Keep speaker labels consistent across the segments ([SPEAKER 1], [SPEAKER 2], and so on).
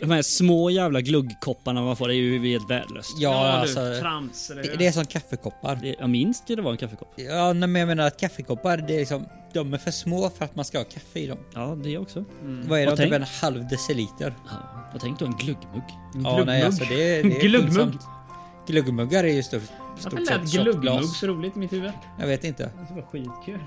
[SPEAKER 1] De här små jävla gluggkopparna man får, det är ju helt värdelöst.
[SPEAKER 2] Ja,
[SPEAKER 3] du,
[SPEAKER 2] alltså.
[SPEAKER 3] Trams. Det,
[SPEAKER 2] Det, det är som kaffekoppar.
[SPEAKER 1] Det- Jag minns ju det var en kaffekopp.
[SPEAKER 2] Ja, nej, men jag menar att kaffekoppar, det är liksom, de är för små för att man ska ha kaffe i dem.
[SPEAKER 3] Mm.
[SPEAKER 1] Ja, det också.
[SPEAKER 2] Vad är det?
[SPEAKER 1] Och
[SPEAKER 2] Typ
[SPEAKER 1] tänk-
[SPEAKER 2] en halv deciliter?
[SPEAKER 1] Ja, jag tänkte en gluggmugg.
[SPEAKER 2] Ja, nej alltså det, är- det är
[SPEAKER 3] Gluggmugg.
[SPEAKER 2] pinsamt. Gluggmuggar är ju stort,
[SPEAKER 3] Varför
[SPEAKER 2] stort
[SPEAKER 3] lät
[SPEAKER 2] sett
[SPEAKER 3] gluggmugg
[SPEAKER 2] shotglas.
[SPEAKER 3] så roligt i mitt huvud?
[SPEAKER 2] Jag vet inte.
[SPEAKER 3] Det var skitkul.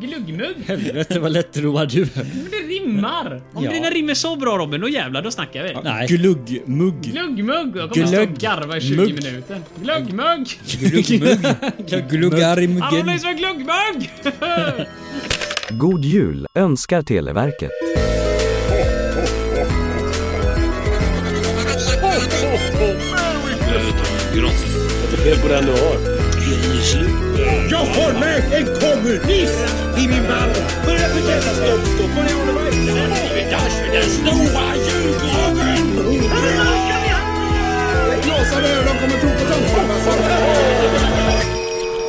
[SPEAKER 3] Gluggmugg?
[SPEAKER 1] Helvete vad lättroad du
[SPEAKER 3] Men det rimmar! Om
[SPEAKER 2] Ja.
[SPEAKER 3] dina rimmer så bra Robin, då jävlar, då snackar vi.
[SPEAKER 1] Nej. Gluggmugg.
[SPEAKER 3] Gluggmugg! Jag kommer stå och
[SPEAKER 1] Glögg.
[SPEAKER 3] garva i 20
[SPEAKER 1] Mugg.
[SPEAKER 3] minuter. Gluggmugg!
[SPEAKER 2] Gluggmugg. Gluggar i
[SPEAKER 3] Alla
[SPEAKER 2] muggen.
[SPEAKER 3] blir som gluggmugg!
[SPEAKER 4] God jul önskar Televerket.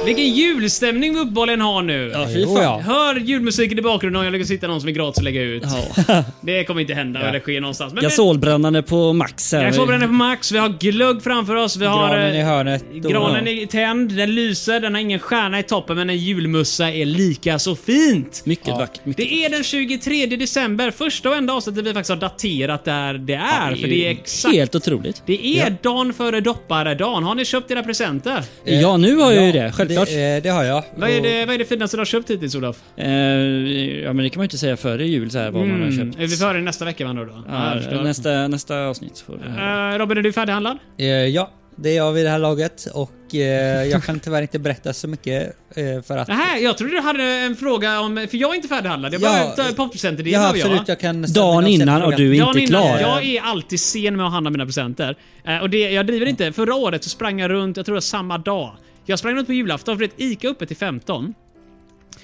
[SPEAKER 3] Vilken julstämning vi uppehållen har nu.
[SPEAKER 1] Ja, fy
[SPEAKER 2] Jo,
[SPEAKER 1] fan.
[SPEAKER 2] ja.
[SPEAKER 3] Hör julmusiken i bakgrunden om jag lyckas hitta någon som är gratis att lägga ut.
[SPEAKER 1] Ja.
[SPEAKER 3] Det kommer inte hända eller ske någonstans. Men
[SPEAKER 1] Gasolbrännande på max här.
[SPEAKER 3] Jag såg den är på max, vi har glögg framför oss, vi har...
[SPEAKER 2] Granen
[SPEAKER 3] eh,
[SPEAKER 2] i hörnet. och-
[SPEAKER 3] Granen är tänd, den lyser, den har ingen stjärna i toppen men en julmussa är lika så fint.
[SPEAKER 1] Mycket vackert. Mycket.
[SPEAKER 3] Det är den 23 december, första och enda avsnittet vi faktiskt har daterat där det är. för det är exakt...
[SPEAKER 1] Helt otroligt.
[SPEAKER 3] Det är dagen före dopparedagen. Har ni köpt era presenter?
[SPEAKER 1] Eh, Ja, nu har jag ju
[SPEAKER 2] Ja,
[SPEAKER 1] det. Självklart.
[SPEAKER 2] Det, eh, det har jag.
[SPEAKER 3] Vad är, det, vad är det finaste du har köpt hittills Olof?
[SPEAKER 1] Eh, ja, men det kan man ju inte säga före jul så här vad man har
[SPEAKER 3] Mm.
[SPEAKER 1] köpt.
[SPEAKER 3] Vi får höra det nästa vecka med andra ord då. Ja, jag
[SPEAKER 1] Ja,
[SPEAKER 3] förstår.
[SPEAKER 1] nästa, nästa avsnitt. Får vi höra.
[SPEAKER 3] Eh, Robin, är du färdighandlad?
[SPEAKER 2] Eh, ja, det är jag vid det här laget och eh, jag kan tyvärr inte berätta så mycket eh, för att...
[SPEAKER 3] Nej, jag trodde du hade en fråga om... För jag är inte färdighandlad. Jag
[SPEAKER 2] Ja,
[SPEAKER 3] bara ja, poppresenter. Det är
[SPEAKER 2] Ja,
[SPEAKER 3] jag.
[SPEAKER 2] absolut, jag kan... ställa
[SPEAKER 1] Dagen
[SPEAKER 2] mina
[SPEAKER 1] innan
[SPEAKER 2] ställa
[SPEAKER 1] och du är
[SPEAKER 3] Dagen
[SPEAKER 1] inte
[SPEAKER 3] innan,
[SPEAKER 1] klar.
[SPEAKER 3] Jag är alltid sen med att handla mina presenter. Eh, och det, jag driver inte. Förra året så sprang jag runt, jag tror det var samma dag. Jag sprang runt på julafton för det är ICA uppe till 15.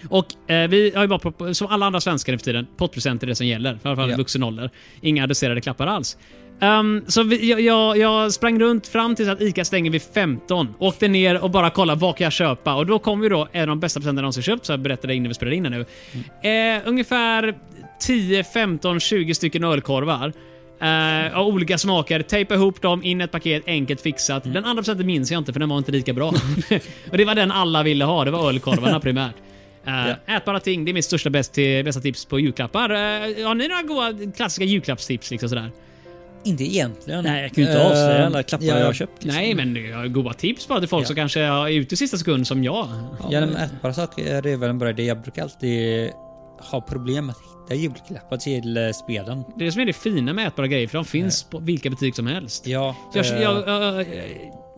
[SPEAKER 3] Och eh, vi har ju bara, på- som alla andra svenskar nu för tiden, pottpresenter är det som gäller. Framförallt
[SPEAKER 2] Ja.
[SPEAKER 3] vuxen ålder. Inga adresserade klappar alls. Ehm, så vi, jag, jag, jag sprang runt fram tills att ICA stänger vid 15. Åkte ner och bara kollade vad kan jag köpa. Och då kom ju då en av de bästa presenterna jag någonsin köpt, så jag berättade innan vi spelade in det nu. Eh, ungefär 10, 15, 20 stycken ölkorvar. Eh, av olika smaker. Tejpa ihop dem, in i ett paket, enkelt fixat. Den andra procenten minns jag inte för den var inte lika bra. och Det var den alla ville ha, det var ölkorvarna primärt. Uh, Ätbara ting, det är mitt största bäst, bästa tips på julklappar. Eh, har ni några goda klassiska julklappstips? Liksom sådär?
[SPEAKER 2] Inte egentligen.
[SPEAKER 1] Nej, jag kan ju inte avslöja
[SPEAKER 2] Eh,
[SPEAKER 1] alla klappar
[SPEAKER 2] ja,
[SPEAKER 1] jag har köpt. liksom.
[SPEAKER 3] Nej,
[SPEAKER 2] Liksom.
[SPEAKER 3] men jag har goda tips bara till folk som kanske är ute i sista sekund som jag.
[SPEAKER 2] Ja, men ätbara saker det är väl en bra idé. Jag brukar alltid ha problem att hitta julklappar till eh, spelen.
[SPEAKER 3] Det är det som är det fina med ätbara grejer, för de finns på vilka butik som helst.
[SPEAKER 2] Ja,
[SPEAKER 3] Jag,
[SPEAKER 2] eh,
[SPEAKER 3] jag, jag, eh,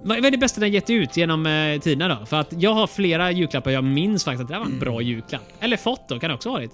[SPEAKER 3] vad vad är det bästa ni har gett ut genom eh, tiderna då? För att jag har flera julklappar jag minns faktiskt att det här var en bra
[SPEAKER 2] Mm.
[SPEAKER 3] julklapp. Eller fått då, kan det också ha varit.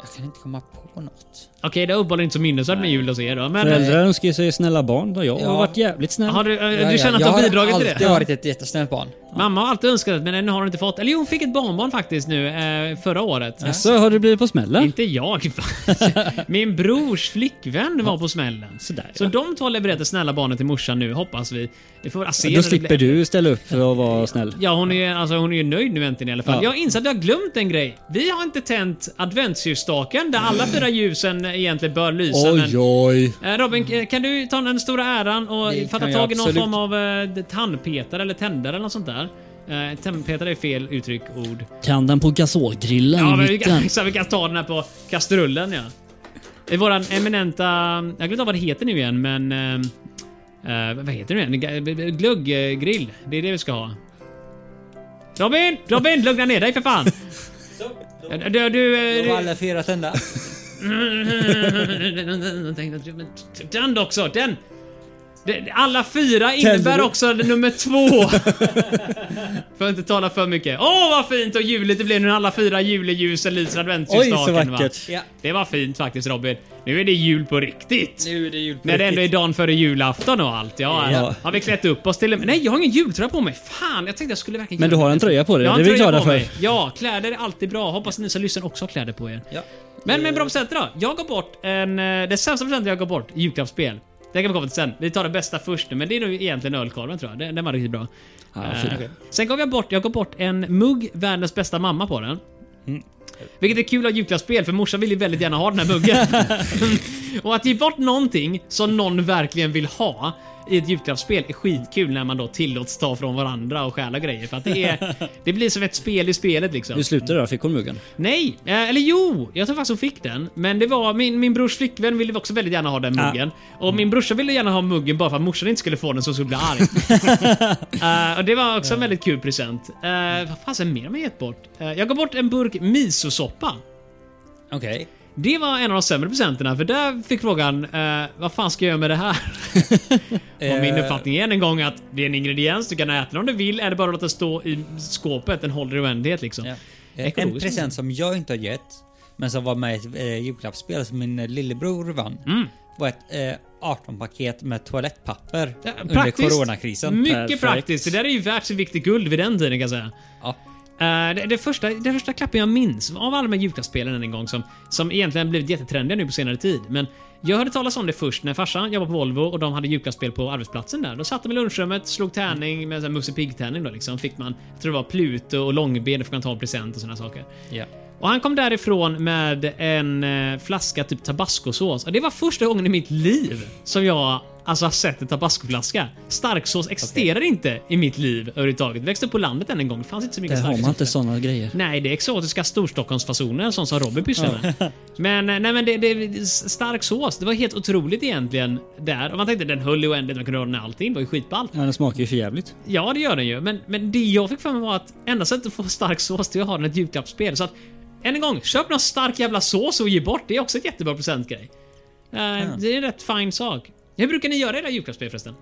[SPEAKER 2] jag kan inte komma på något.
[SPEAKER 3] Okej, det är uppenbarligen inte så minnesvärt med jul hos er då. Men eh,
[SPEAKER 1] Föräldrar önskar ju sig snälla barn. och Jag
[SPEAKER 2] Ja.
[SPEAKER 1] har varit jävligt snäll.
[SPEAKER 3] har du, eh,
[SPEAKER 2] Ja,
[SPEAKER 3] du
[SPEAKER 2] ja,
[SPEAKER 3] känner att du
[SPEAKER 2] jag
[SPEAKER 3] har bidragit till det?
[SPEAKER 2] alltid varit ett jättesnällt barn.
[SPEAKER 3] Mamma har alltid önskat det, men ännu har hon inte fått. Eller jo, hon fick ett barnbarn faktiskt nu eh, förra året.
[SPEAKER 1] Alltså, har du blivit på smällen?
[SPEAKER 3] Inte jag. Min brors flickvän var på smällen.
[SPEAKER 1] Sådär,
[SPEAKER 3] Så
[SPEAKER 1] ja.
[SPEAKER 3] de två levererar snälla barnet till morsan nu, hoppas vi. Det får, alltså,
[SPEAKER 1] Då slipper du ställa upp för att vara snäll.
[SPEAKER 3] Ja, hon är, alltså, hon är ju nöjd nu äntligen i alla fall.
[SPEAKER 1] Ja.
[SPEAKER 3] Jag inser att jag har glömt en grej. Vi har inte tänt adventsljusstaken där alla fyra ljusen egentligen bör lysa. men-
[SPEAKER 1] oj.
[SPEAKER 3] Eh, Robin, eh, kan du ta den stora äran och
[SPEAKER 2] Det
[SPEAKER 3] fatta
[SPEAKER 2] kan jag
[SPEAKER 3] tag i någon
[SPEAKER 2] absolut.
[SPEAKER 3] form av eh, tandpetare eller tändare eller något sånt där? Eh, Tandpetare är fel uttryck, ord.
[SPEAKER 1] Kan den på gasolgrillen
[SPEAKER 3] Ja,
[SPEAKER 1] i
[SPEAKER 3] men vi,
[SPEAKER 1] mitten?
[SPEAKER 3] kan, så vi kan ta den här på kastrullen ja. Det är våran eminenta... Jag glömde av vad det heter nu igen men... ehm, eh, eh, vad heter det nu igen? Ga- Glögggrill. Det är det vi ska ha. Robin! Robin! Lugna ner dig för fan! Du, du, du, eh,
[SPEAKER 2] De har
[SPEAKER 3] du,
[SPEAKER 2] alla fyra tända.
[SPEAKER 3] den också, den! Det- Alla fyra innebär
[SPEAKER 1] Tänder.
[SPEAKER 3] också nummer två. För att inte tala för mycket. Åh vad fint och juligt det blev nu när alla fyra juleljusen lyser
[SPEAKER 1] Oj,
[SPEAKER 3] adventsljusstaken.
[SPEAKER 1] så
[SPEAKER 3] va?
[SPEAKER 1] vackert.
[SPEAKER 2] Ja,
[SPEAKER 3] Det var fint faktiskt Robin. Nu är det jul på riktigt.
[SPEAKER 2] nu är det jul på
[SPEAKER 3] När det ändå är
[SPEAKER 2] riktigt.
[SPEAKER 3] dagen före julafton och allt. Ja,
[SPEAKER 1] Ja.
[SPEAKER 3] Har vi klätt upp oss till och med? Nej, jag har ingen jultröja på mig. Fan, jag tänkte jag skulle verkligen...
[SPEAKER 1] Men du har en tröja på dig,
[SPEAKER 3] Jag har
[SPEAKER 1] det
[SPEAKER 3] en
[SPEAKER 1] är vi
[SPEAKER 3] tröja
[SPEAKER 1] glada
[SPEAKER 3] på
[SPEAKER 1] för.
[SPEAKER 3] mig. Ja, kläder är alltid bra. Hoppas ni som lyssnar också har kläder på er.
[SPEAKER 2] Ja.
[SPEAKER 3] Men med bra presenter då. Jag går bort en... eh, Det sämsta presenten jag går bort, julklappsspel. Det kan vi komma till sen. Vi tar det bästa först nu, men det är nog egentligen ölkorven tror jag. Den, den var riktigt bra.
[SPEAKER 1] Ja,
[SPEAKER 3] Eh,
[SPEAKER 1] fint.
[SPEAKER 3] Sen gav jag bort, jag gav bort en mugg, världens bästa mamma på den. Vilket är kul av julklappsspel, för morsan vill ju väldigt gärna ha den här muggen. och att ge bort någonting som någon verkligen vill ha i ett julklappsspel är skitkul när man då tillåts ta från varandra och stjäla grejer. För att det, är, det blir som ett spel i spelet liksom.
[SPEAKER 1] Hur slutade det då? Fick hon muggen?
[SPEAKER 3] Nej, eh, eller jo! Jag tror faktiskt hon fick den. Men det var min, min brors flickvän ville också väldigt gärna ha den
[SPEAKER 1] Ah.
[SPEAKER 3] muggen. Och min brorsa ville gärna ha muggen bara för att morsan inte skulle få den så hon skulle bli arg. Eh, och det var också en väldigt kul present. Eh, vad fasen mer har man gett bort? Eh, jag gav bort en burk misosoppa.
[SPEAKER 2] Okej.
[SPEAKER 3] Det var en av de sämre presenterna för där fick frågan eh, vad fan ska jag göra med det här? och min
[SPEAKER 2] Eh.
[SPEAKER 3] uppfattning är än en gång att det är en ingrediens, du kan äta den om du vill eller bara låta den stå i skåpet, den håller i oändlighet liksom.
[SPEAKER 2] Ja. Eh,
[SPEAKER 3] Ekologiskt.
[SPEAKER 2] En present som jag inte har gett, men som var med i ett eh, julklappsspel som min eh, lillebror vann.
[SPEAKER 3] Mm.
[SPEAKER 2] Var ett eh, 18-paket med toalettpapper
[SPEAKER 3] Ja,
[SPEAKER 2] under
[SPEAKER 3] Eh, praktiskt.
[SPEAKER 2] coronakrisen.
[SPEAKER 3] Mycket
[SPEAKER 1] Perfekt.
[SPEAKER 3] praktiskt. Det där är ju värt sig viktigt guld vid den tiden kan jag säga.
[SPEAKER 2] Ja.
[SPEAKER 3] Eh, det, det, första, det första klappen jag minns av alla de här julklappsspelen än en gång som, som egentligen blivit jättetrendiga nu på senare tid. Men jag hörde talas om det först när farsan jobbade på Volvo och de hade julklappsspel på arbetsplatsen där. Då satt de i lunchrummet, slog tärning med sån här Musse Pigg-tärning då liksom. Fick man, jag tror det var Pluto och Långben, då fick man ta en present och sådana saker.
[SPEAKER 2] Ja.
[SPEAKER 3] Och han kom därifrån med en eh, flaska typ tabascosås. Och det var första gången i mitt liv som jag alltså, har sett en tabascoflaska. Starksås existerar inte i mitt liv överhuvudtaget. Växte upp på landet än en gång. Det fanns inte så
[SPEAKER 1] Där
[SPEAKER 3] mycket
[SPEAKER 1] har
[SPEAKER 3] starksås.
[SPEAKER 1] man inte såna grejer.
[SPEAKER 3] Nej, det är exotiska Storstockholmsfasoner, sånt som Robin pysslar med. Men, eh, nej, men det, det är stark sås. Det var helt otroligt egentligen där. Och man tänkte den höll i oändligt, man kunde ha den med allting. Det var ju skitballt.
[SPEAKER 1] Ja, den smakar ju för jävligt.
[SPEAKER 3] Ja, det gör den ju. Men, men det jag fick för mig var att enda sättet att få stark sås det är att ha den i ett julklappsspel. Så att, än en gång, köp någon stark jävla sås och ge bort. Det är också ett jättebra presentgrej. Eh, Det är en rätt fin sak. Hur brukar ni göra era julklappsspel förresten?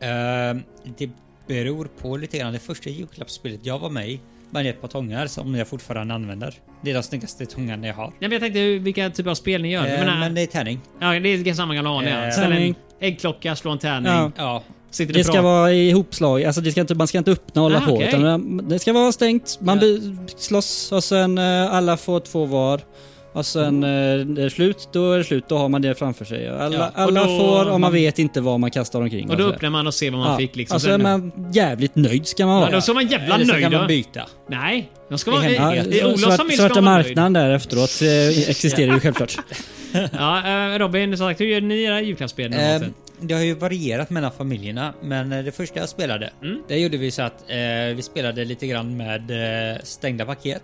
[SPEAKER 2] Ehm, det beror på lite grann. Det första julklappsspelet jag var med i var ett par tångar som jag fortfarande använder. Det är de snyggaste tångarna jag har.
[SPEAKER 3] Ja, men jag tänkte hur- vilka typer av spel ni gör.
[SPEAKER 2] Eh,
[SPEAKER 3] Jag menar,
[SPEAKER 2] men det är tärning.
[SPEAKER 3] ja, det är samma gamla vanliga.
[SPEAKER 2] Eh,
[SPEAKER 3] Ställ en
[SPEAKER 1] tärning.
[SPEAKER 3] äggklocka, slå en tärning.
[SPEAKER 1] Ja.
[SPEAKER 2] Ja,
[SPEAKER 3] Sitter
[SPEAKER 1] Det
[SPEAKER 3] och
[SPEAKER 1] ska
[SPEAKER 3] pratar.
[SPEAKER 1] vara ihopslag, alltså det ska inte, man ska inte öppna och hålla
[SPEAKER 3] Ah,
[SPEAKER 1] på.
[SPEAKER 3] okej.
[SPEAKER 1] Utan man- det ska vara stängt, man blir- slåss och sen eh, alla får två var. Och sen eh, det är slut, då är det slut, då har man det framför sig. Och Alla,
[SPEAKER 3] Ja, och
[SPEAKER 1] alla
[SPEAKER 3] då-
[SPEAKER 1] får och
[SPEAKER 3] man-
[SPEAKER 1] man vet inte vad man kastar omkring. alltså.
[SPEAKER 3] Och då
[SPEAKER 2] Alltså-
[SPEAKER 1] så.
[SPEAKER 3] öppnar man och ser vad man fick liksom.
[SPEAKER 1] och så är
[SPEAKER 3] sen,
[SPEAKER 1] man Alltså, jävligt nöjd ska man
[SPEAKER 3] ja,
[SPEAKER 1] vara.
[SPEAKER 3] då ska man jävla
[SPEAKER 2] eller så
[SPEAKER 3] nöjd
[SPEAKER 2] kan man
[SPEAKER 3] då.
[SPEAKER 2] byta.
[SPEAKER 3] Nej, de ska
[SPEAKER 2] Det
[SPEAKER 3] vara... I,
[SPEAKER 2] händer.
[SPEAKER 3] i, i Olofs
[SPEAKER 1] svart,
[SPEAKER 3] familj ska
[SPEAKER 1] svarta
[SPEAKER 3] man vara nöjd.
[SPEAKER 1] marknaden där efteråt eh, existerar ju självklart.
[SPEAKER 3] Ja, eh, Robin, som sagt, hur gör ni era julklappsspel normalt
[SPEAKER 2] Ehm,
[SPEAKER 3] sett?
[SPEAKER 2] det har ju varierat mellan familjerna, men eh, det första jag spelade,
[SPEAKER 3] Mm.
[SPEAKER 2] det gjorde vi så att eh, vi spelade lite grann med eh, stängda paket.